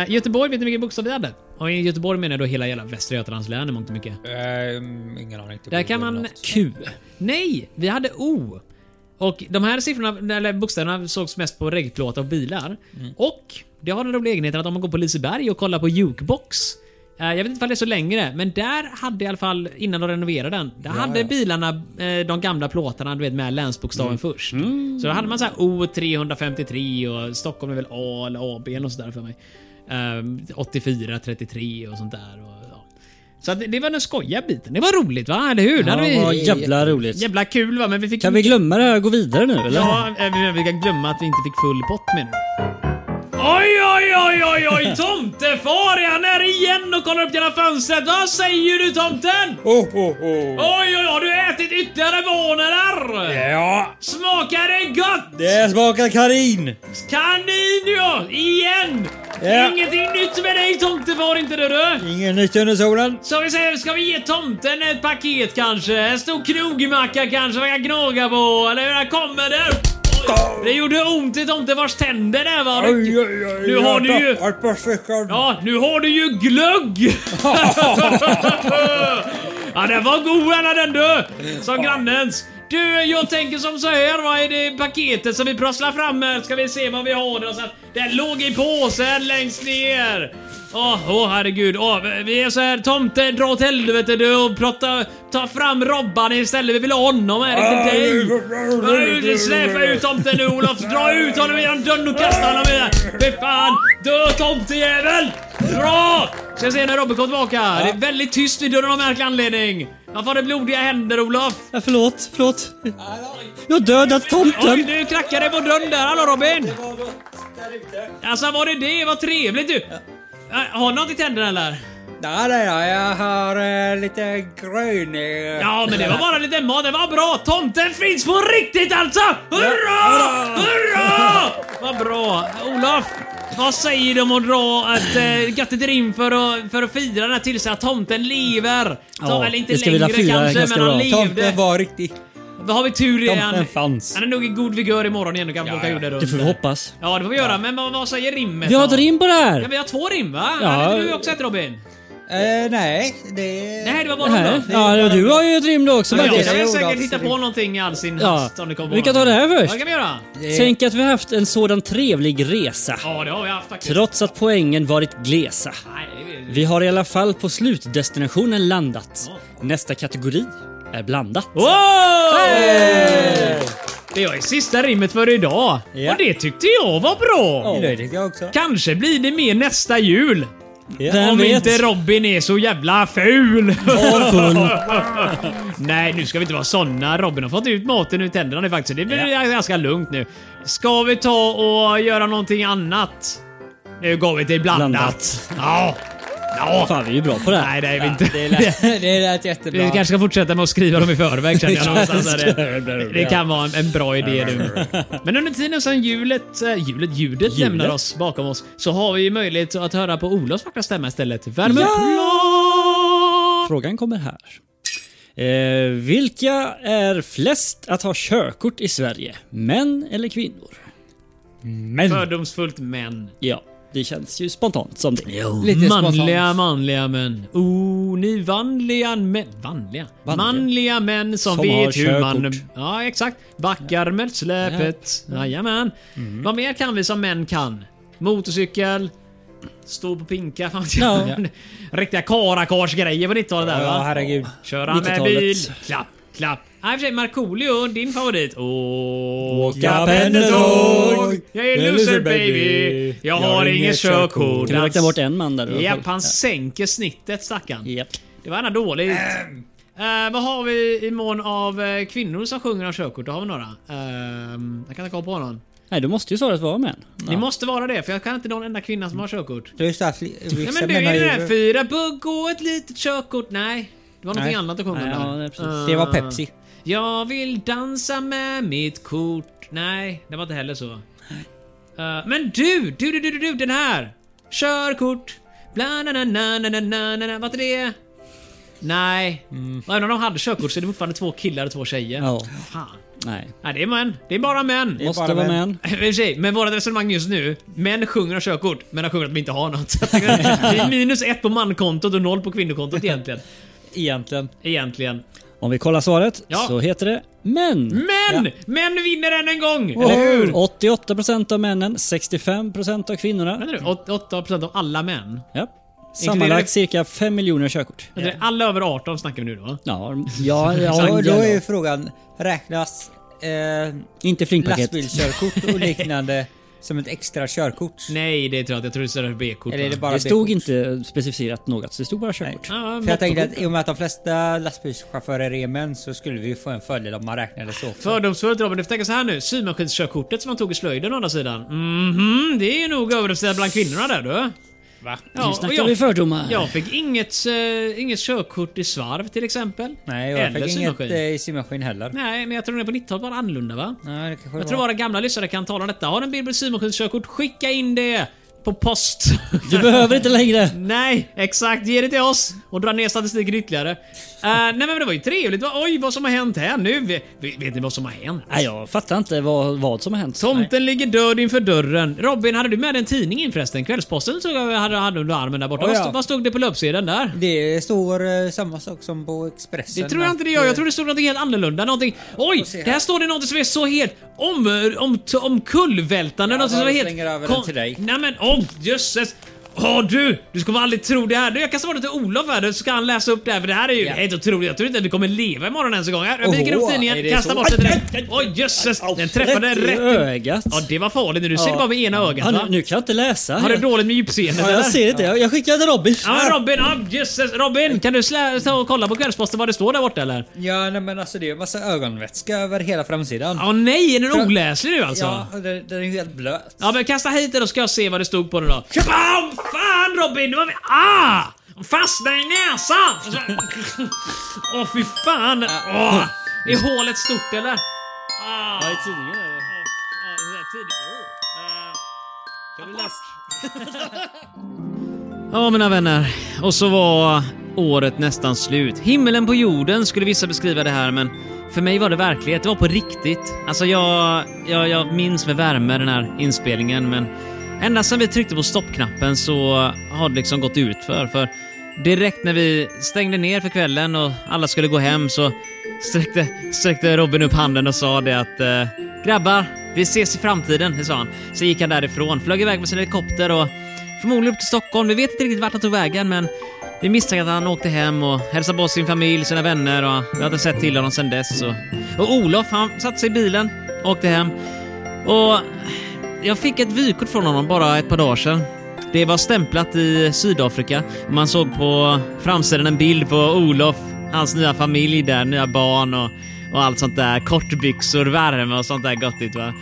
[SPEAKER 3] Eh, Göteborg, vet ni vilken bokstav vi hade? Och i Göteborg menar jag då hela jävla Västra Götalands län i mångt och mycket.
[SPEAKER 2] ehm, ingen aning. Typ
[SPEAKER 3] Där kan
[SPEAKER 2] eller
[SPEAKER 3] man...
[SPEAKER 2] något.
[SPEAKER 1] Q.
[SPEAKER 3] Nej! Vi hade O. Och de här siffrorna, eller bokstäverna, sågs mest på regplåtar och bilar.
[SPEAKER 1] Mm.
[SPEAKER 3] Och det har den roliga egenheten att om man går på Liseberg och kollar på Jukebox. eh, Jag vet inte om det är så längre, men där hade i alla fall, innan de renoverade den, där hade bilarna eh, de gamla plåtarna du vet, med länsbokstaven
[SPEAKER 1] Mm.
[SPEAKER 3] först. Så då hade man så här O353 och Stockholm är väl A eller AB och sådär för mig. Eh, 84, 33 och sånt där. Och, ja. Så att det, det var den skojiga biten. Det var roligt va? Eller hur? Där
[SPEAKER 1] Ja,
[SPEAKER 3] hade vi-
[SPEAKER 1] vad jävla roligt.
[SPEAKER 3] Jävla kul va, men vi fick...
[SPEAKER 1] Kan vi glömma det här och gå vidare nu eller?
[SPEAKER 3] Ja, eh, men vi kan glömma att vi inte fick full pott med nu. Oj, oj, oj, oj, oj! Tomtefar är han här igen och kollar upp genom fönstret. Vad säger du tomten?
[SPEAKER 2] Oh, oh, oh.
[SPEAKER 3] Oj, oj, har du ätit ytterligare månader?
[SPEAKER 2] Ja!
[SPEAKER 3] Smakar det gott?
[SPEAKER 2] Det smakar kanin!
[SPEAKER 3] Kanin ja! Igen!
[SPEAKER 2] Ja.
[SPEAKER 3] Ingenting nytt med dig tomtefar inte du du!
[SPEAKER 2] Ingen nytt under solen.
[SPEAKER 3] Så vi säger, ska vi ge tomten ett paket kanske? En stor krogmacka kanske man kan gnaga på? Eller hur? Här kommer den! Oj, Det gjorde ont i tomtefars tänder där va?
[SPEAKER 2] Oj, oj, oj,
[SPEAKER 3] Nu har du ju-
[SPEAKER 2] Vart på fickan?
[SPEAKER 3] Ja, nu har du ju glögg! ja, den var god den den du! Som grannens. Du, jag tänker som så här. Vad är det paketet som vi prasslar fram här? Ska vi se vad vi har där. Så att Den låg i påsen längst ner. Åh, åh, herregud. Åh, vi är så här, tomten dra åt helvete du och prata, ta fram Robban istället. Vi vill ha honom här, inte dig. Nej, Släpa ut tomten nu Olof! Dra ut honom genom dörren och kasta honom i den! Fy fan! Dö tomtejävel! Dra! Ska se när Robin kommer tillbaka. Det är väldigt tyst vid dörren av märklig anledning. Varför har du blodiga händer Olof?
[SPEAKER 1] Ja, förlåt, förlåt. Jag har dödat
[SPEAKER 3] Oj,
[SPEAKER 1] tomten.
[SPEAKER 3] du knackade på dörren där. Hallå Robin! Alltså var det det? Vad trevligt du! Äh, Har du något i tänderna eller?
[SPEAKER 2] Nej, nej, nej, jag har eh, lite grön eh, i...
[SPEAKER 3] Ja, men det var bara lite mat. Det var bra. Tomten finns på riktigt alltså! Hurra! Hurra! Vad bra. Olof, vad säger du om att dra att eh, grattet rim för att, för att fira den här tillsägelsen att tomten lever? Tom,
[SPEAKER 1] Ja,
[SPEAKER 3] eller inte
[SPEAKER 1] vi ska vilja
[SPEAKER 3] längre
[SPEAKER 1] fira den
[SPEAKER 3] kanske,
[SPEAKER 1] ganska
[SPEAKER 3] men han
[SPEAKER 1] bra.
[SPEAKER 3] levde.
[SPEAKER 2] Tomten var riktig.
[SPEAKER 3] Då har vi tur igen.
[SPEAKER 2] Tomten fanns.
[SPEAKER 3] Han är nog i god vigör imorgon igen och kan
[SPEAKER 2] Ja,
[SPEAKER 3] åka
[SPEAKER 2] ja.
[SPEAKER 3] jorden runt.
[SPEAKER 1] Det får vi hoppas.
[SPEAKER 3] Ja, det får vi göra. Men vad, vad säger rimmet
[SPEAKER 1] Vi har
[SPEAKER 3] då?
[SPEAKER 1] ett rim på det
[SPEAKER 3] Ja,
[SPEAKER 1] här.
[SPEAKER 3] vi har två rim va?
[SPEAKER 1] Ja.
[SPEAKER 3] Hade inte du också ett Robin?
[SPEAKER 2] Eh, nej, det...
[SPEAKER 3] Nej, det var bara
[SPEAKER 1] Det här.
[SPEAKER 3] Olof.
[SPEAKER 1] Ja, du har ju ett rim då också
[SPEAKER 3] Ja,
[SPEAKER 1] Marcus.
[SPEAKER 3] jag
[SPEAKER 2] det är
[SPEAKER 3] kan säkert
[SPEAKER 2] Olofs
[SPEAKER 3] hitta på
[SPEAKER 2] rim.
[SPEAKER 3] någonting i all sin
[SPEAKER 1] Ja.
[SPEAKER 3] hast om det kommer
[SPEAKER 1] Vi kan
[SPEAKER 3] på
[SPEAKER 1] ta det
[SPEAKER 3] någonting.
[SPEAKER 1] här först.
[SPEAKER 3] Ja, det kan vi göra.
[SPEAKER 1] Tänk att vi har haft en sådan trevlig resa.
[SPEAKER 3] Ja, det har vi haft faktiskt.
[SPEAKER 1] Trots att poängen varit glesa.
[SPEAKER 3] Nej, det är-
[SPEAKER 1] Vi har i alla fall på slutdestinationen landat. Nästa kategori är blandat.
[SPEAKER 3] Wow! Det var ju sista rimmet för idag.
[SPEAKER 2] Ja.
[SPEAKER 3] Och det tyckte jag var bra.
[SPEAKER 2] Det tyckte jag också.
[SPEAKER 3] Kanske blir det mer nästa jul.
[SPEAKER 6] Vem
[SPEAKER 3] Om
[SPEAKER 6] vet?
[SPEAKER 3] inte Robin är så jävla ful!
[SPEAKER 6] Var full.
[SPEAKER 3] Nej, nu ska vi inte vara såna. Robin har fått ut maten ur tänderna nu faktiskt. Det blir ganska lugnt nu. Ska vi ta och göra någonting annat? Nu går vi till blandat.
[SPEAKER 6] Blandat.
[SPEAKER 3] Ja. ja.
[SPEAKER 6] Fan, vi är ju bra på det här.
[SPEAKER 3] Nej, det är vi inte.
[SPEAKER 2] Det lät, det lät jättebra.
[SPEAKER 3] Vi kanske ska fortsätta med att skriva dem i förväg känner jag någonstans. här. Det, det kan vara en, en bra idé nu. Men under tiden som hjulet, eh, hjulet, ljudet lämnar oss bakom oss så har vi ju möjlighet att höra på Olofs vackra stämma istället. Värme
[SPEAKER 1] Frågan kommer här. Eh, vilka är flest att ha körkort i Sverige? Män eller kvinnor?
[SPEAKER 6] Men.
[SPEAKER 3] Fördomsfullt män.
[SPEAKER 1] Ja, det känns ju spontant som det.
[SPEAKER 2] Lite spontant.
[SPEAKER 3] Manliga, manliga män. Oh, ni vanliga män. Vanliga? Manliga män som,
[SPEAKER 1] Som har
[SPEAKER 3] vet hur man...
[SPEAKER 1] körkort.
[SPEAKER 3] Ja, exakt. Backar med släpet. Jajamän. Vad mer kan vi som män kan? Motorcykel. Stå på pinka. Fan, Riktiga karakarsgrejer på 90-talet där va?
[SPEAKER 2] Ja, herregud.
[SPEAKER 3] Köra med
[SPEAKER 1] 90-talet.
[SPEAKER 3] bil. Klapp, klapp. Nej, i och för sig, Markoolio, din favorit. Åh,
[SPEAKER 2] Åka pendeltåg.
[SPEAKER 3] Jag är loser baby. Jag har inget körkort.
[SPEAKER 1] Kan du räkna bort en man där? du har
[SPEAKER 3] Japp,
[SPEAKER 1] koll?
[SPEAKER 3] han sänker snittet stackarn.
[SPEAKER 1] Japp.
[SPEAKER 3] Det var ändå dåligt. Eh, vad har vi i mån av eh, kvinnor som sjunger om körkort? Då har vi några. Ehm, jag kan inte komma på någon.
[SPEAKER 1] Nej, då måste ju svaret vara män.
[SPEAKER 3] Ni måste vara det, för jag kan inte någon enda kvinna som har körkort.
[SPEAKER 2] Det är just det här, fli-
[SPEAKER 3] Nej
[SPEAKER 2] vissa
[SPEAKER 3] men du,
[SPEAKER 2] menar
[SPEAKER 3] är det
[SPEAKER 2] ju-
[SPEAKER 3] där fyra bugg och ett litet körkort? Nej. Det var någonting
[SPEAKER 2] Nej.
[SPEAKER 3] annat att sjunga om
[SPEAKER 1] Nej, ja,
[SPEAKER 3] där.
[SPEAKER 1] nej, precis.
[SPEAKER 3] Eh,
[SPEAKER 2] Det var Pepsi.
[SPEAKER 3] Jag vill dansa med mitt kort. Nej, det var inte heller så. Eh, men du, du, du, du, du, du, den här! Körkort! Bla, na, na, na, na, na, na, na, na. Vad är det? Nej. Och Även om de hade körkort så är det fortfarande två killar och två tjejer.
[SPEAKER 1] Ja.
[SPEAKER 3] Fan.
[SPEAKER 1] Nej.
[SPEAKER 3] Nej, det är män. Det är bara män.
[SPEAKER 1] Måste
[SPEAKER 2] bara
[SPEAKER 1] vara
[SPEAKER 2] män.
[SPEAKER 1] män.
[SPEAKER 3] I och för sig, Men vårt resonemang just nu, män sjunger om körkort, men de sjunger att de inte har något. Så jag tänker att det är minus ett på mankontot och noll på kvinnokontot egentligen.
[SPEAKER 2] Egentligen.
[SPEAKER 3] Egentligen.
[SPEAKER 1] Om vi kollar svaret
[SPEAKER 3] Ja.
[SPEAKER 1] så heter det män.
[SPEAKER 3] Men! Män vinner än en gång!
[SPEAKER 1] Eller hur? 88% av männen, 65% av kvinnorna.
[SPEAKER 3] Vänta nu, åt- 8% av alla män.
[SPEAKER 1] Ja.
[SPEAKER 3] Inkluderar-
[SPEAKER 1] Sammanlagt cirka 5 miljoner körkort.
[SPEAKER 3] Vänta nu, Alla över 18 snackar vi nu då.
[SPEAKER 1] Ja, ja,
[SPEAKER 2] Ja,
[SPEAKER 1] ja,
[SPEAKER 2] och då är ju
[SPEAKER 1] ja.
[SPEAKER 2] frågan, räknas eh,
[SPEAKER 1] Inte flingpaket.
[SPEAKER 2] lastbilskörkort och liknande som ett extra körkort?
[SPEAKER 3] Nej, det tror jag inte. Jag tror det står där B-kort.
[SPEAKER 2] Eller är det bara
[SPEAKER 1] Det stod
[SPEAKER 2] B-kort?
[SPEAKER 1] inte specificerat något, så det stod bara körkort.
[SPEAKER 3] Ja,
[SPEAKER 2] För jag tänkte att i och med att de flesta lastbilschaufförer är män så skulle vi ju få en fördel om man räknade så. också.
[SPEAKER 3] Fördomsfullt Robin, du får tänka så här nu. Symaskinskörkortet som man tog i slöjden å andra sidan. Mhm, det är nog överrepresenterat bland kvinnorna där du. Va?
[SPEAKER 1] nu
[SPEAKER 3] Ja, och
[SPEAKER 1] snackar vi
[SPEAKER 3] jag,
[SPEAKER 1] fördomar.
[SPEAKER 3] jag fick inget, eh, inget körkort i svarv till exempel.
[SPEAKER 2] Nej, och jag
[SPEAKER 3] Eller
[SPEAKER 2] fick inget
[SPEAKER 3] symaskin.
[SPEAKER 2] eh, i simmaskin heller.
[SPEAKER 3] Nej, men jag tror den är på 90-talet var annorlunda va?
[SPEAKER 2] Nej, det kanske
[SPEAKER 3] Jag
[SPEAKER 2] det
[SPEAKER 3] tror
[SPEAKER 2] var.
[SPEAKER 3] våra gamla lyssnare kan tala om detta. Har du en bild på symaskinskörkort, skicka in det på post.
[SPEAKER 1] Du behöver inte längre.
[SPEAKER 3] Nej, exakt. Ge det till oss och dra ner statistiken ytterligare. Eh, nej men det var ju trevligt. Va- Oj, vad som har hänt här nu. Vet, vet ni vad som har hänt?
[SPEAKER 1] Nej, jag fattar inte vad, vad som har hänt.
[SPEAKER 3] Tomten ligger död inför dörren. Robin, hade du med dig en tidning in förresten? Kvällsposten såg jag hade, hade under armen där borta.
[SPEAKER 2] Oh,
[SPEAKER 3] Vad
[SPEAKER 2] ja.
[SPEAKER 3] stod- Vad stod det på löpsedeln där?
[SPEAKER 2] Det står eh, samma sak som på Expressen.
[SPEAKER 3] Det tror jag inte det gör. Jag tror det stod något helt annorlunda. Någonting. Oj!
[SPEAKER 2] se här.
[SPEAKER 3] Det här står det något som är så helt om, om, omkullvältande.
[SPEAKER 2] Ja,
[SPEAKER 3] något som
[SPEAKER 2] jag
[SPEAKER 3] är helt...
[SPEAKER 2] slänger över den
[SPEAKER 3] kon-
[SPEAKER 2] till dig.
[SPEAKER 3] Nej men åh jösses! Åh du! Du ska väl aldrig tro det här. Du, jag kan svara till Olof här nu, så ska han läsa upp det här för det här är ju
[SPEAKER 2] Ja.
[SPEAKER 3] helt otroligt. Jag tror inte att vi kommer leva imorgon ens en gång. Här, Jag
[SPEAKER 2] Oho,
[SPEAKER 3] viker upp
[SPEAKER 2] är
[SPEAKER 3] tidningen,
[SPEAKER 2] det
[SPEAKER 3] kastar
[SPEAKER 2] så?
[SPEAKER 3] bort den direkt. Oj jösses! Den träffade
[SPEAKER 1] Rätt i
[SPEAKER 3] rätt i...
[SPEAKER 1] ögat.
[SPEAKER 3] Ja det var farligt. Du ser det bara med ena ögat
[SPEAKER 1] Ja,
[SPEAKER 3] va?
[SPEAKER 1] nu, nu kan jag inte läsa.
[SPEAKER 3] Har du
[SPEAKER 1] jag,
[SPEAKER 3] dåligt med djupseendet
[SPEAKER 1] ja,
[SPEAKER 3] eller?
[SPEAKER 1] jag ser inte. Jag, jag skickar till Robin.
[SPEAKER 3] Ja Robin, ja jösses! Robin! Kan du slä, ta och kolla på Kvällsposten vad det står där borta eller?
[SPEAKER 2] Ja, nej, men alltså det är en massa ögonvätska över hela framsidan.
[SPEAKER 3] Ja nej, är den oläslig nu alltså?
[SPEAKER 2] Ja,
[SPEAKER 3] Ja.
[SPEAKER 2] den, den är ju helt blöt.
[SPEAKER 3] men kasta hit den och ska jag se vad det stod på den då. Kabam! Fan Robin! Det var... Ah! Fastna i näsan! Åh fy fan! Åh! Är hålet stort eller? Ah.
[SPEAKER 1] i tidningen är det.
[SPEAKER 3] Ja, mina vänner. Och så var året nästan slut. Himmelen på jorden skulle vissa beskriva det här, men för mig var det verklighet. Det var på riktigt. Alltså, jag, jag, jag minns med värme den här inspelningen, men ända sedan vi tryckte på stoppknappen så har det liksom gått ut för. för direkt när vi stängde ner för kvällen och alla skulle gå hem så sträckte, sträckte Robin upp handen och sa det att eh, “Grabbar, vi ses i framtiden”, det sa han. Så gick han därifrån, flög iväg med sin helikopter och förmodligen upp till Stockholm. Vi vet inte riktigt vart han tog vägen men vi misstänker att han åkte hem och hälsade på sin familj, sina vänner och vi har inte sett till honom sedan dess. Och, och Olof, han satte sig i bilen, åkte hem och jag fick ett vykort från honom bara ett par dagar sedan. Det var stämplat i Sydafrika. Man såg på framsidan en bild på Olof, hans nya familj där, nya barn och, och allt sånt där. Kortbyxor, värme och sånt där gottigt va.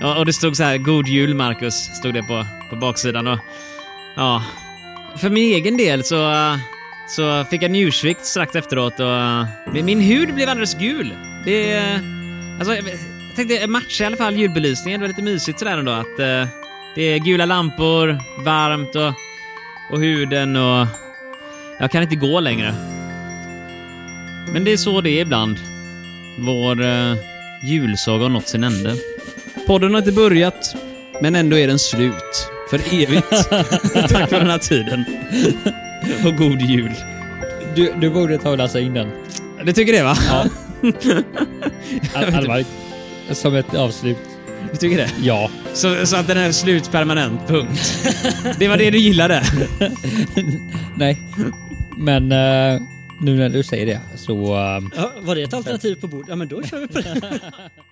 [SPEAKER 3] Ja, och det stod så här God Jul Marcus, stod det på, på baksidan. Och, ja. För min egen del så, eh, så fick jag njursvikt strax efteråt och eh, min- min hud blev alldeles gul. Det... eh, Alltså, jag jag tänkte matcha i alla fall julbelysningen. Det var lite mysigt sådär ändå att eh, det är gula lampor, varmt och, och huden och... Jag kan inte gå längre. Men det är så det är ibland. Vår eh, julsaga har nått sin ände.
[SPEAKER 7] Podden har inte börjat, men ändå är den slut. För evigt.
[SPEAKER 3] Tack för den här tiden. Och god jul.
[SPEAKER 8] Du, du borde ta och läsa in den.
[SPEAKER 7] Det tycker det va?
[SPEAKER 8] Allvarligt. Som ett avslut.
[SPEAKER 7] Du tycker det?
[SPEAKER 8] Ja.
[SPEAKER 7] Så, så att den är slut permanent, punkt. Det var det du gillade?
[SPEAKER 8] Nej. Men eh, nu när du säger det så... eh,
[SPEAKER 1] Ja, var det ett alternativ på bordet? Ja, men då kör vi på det.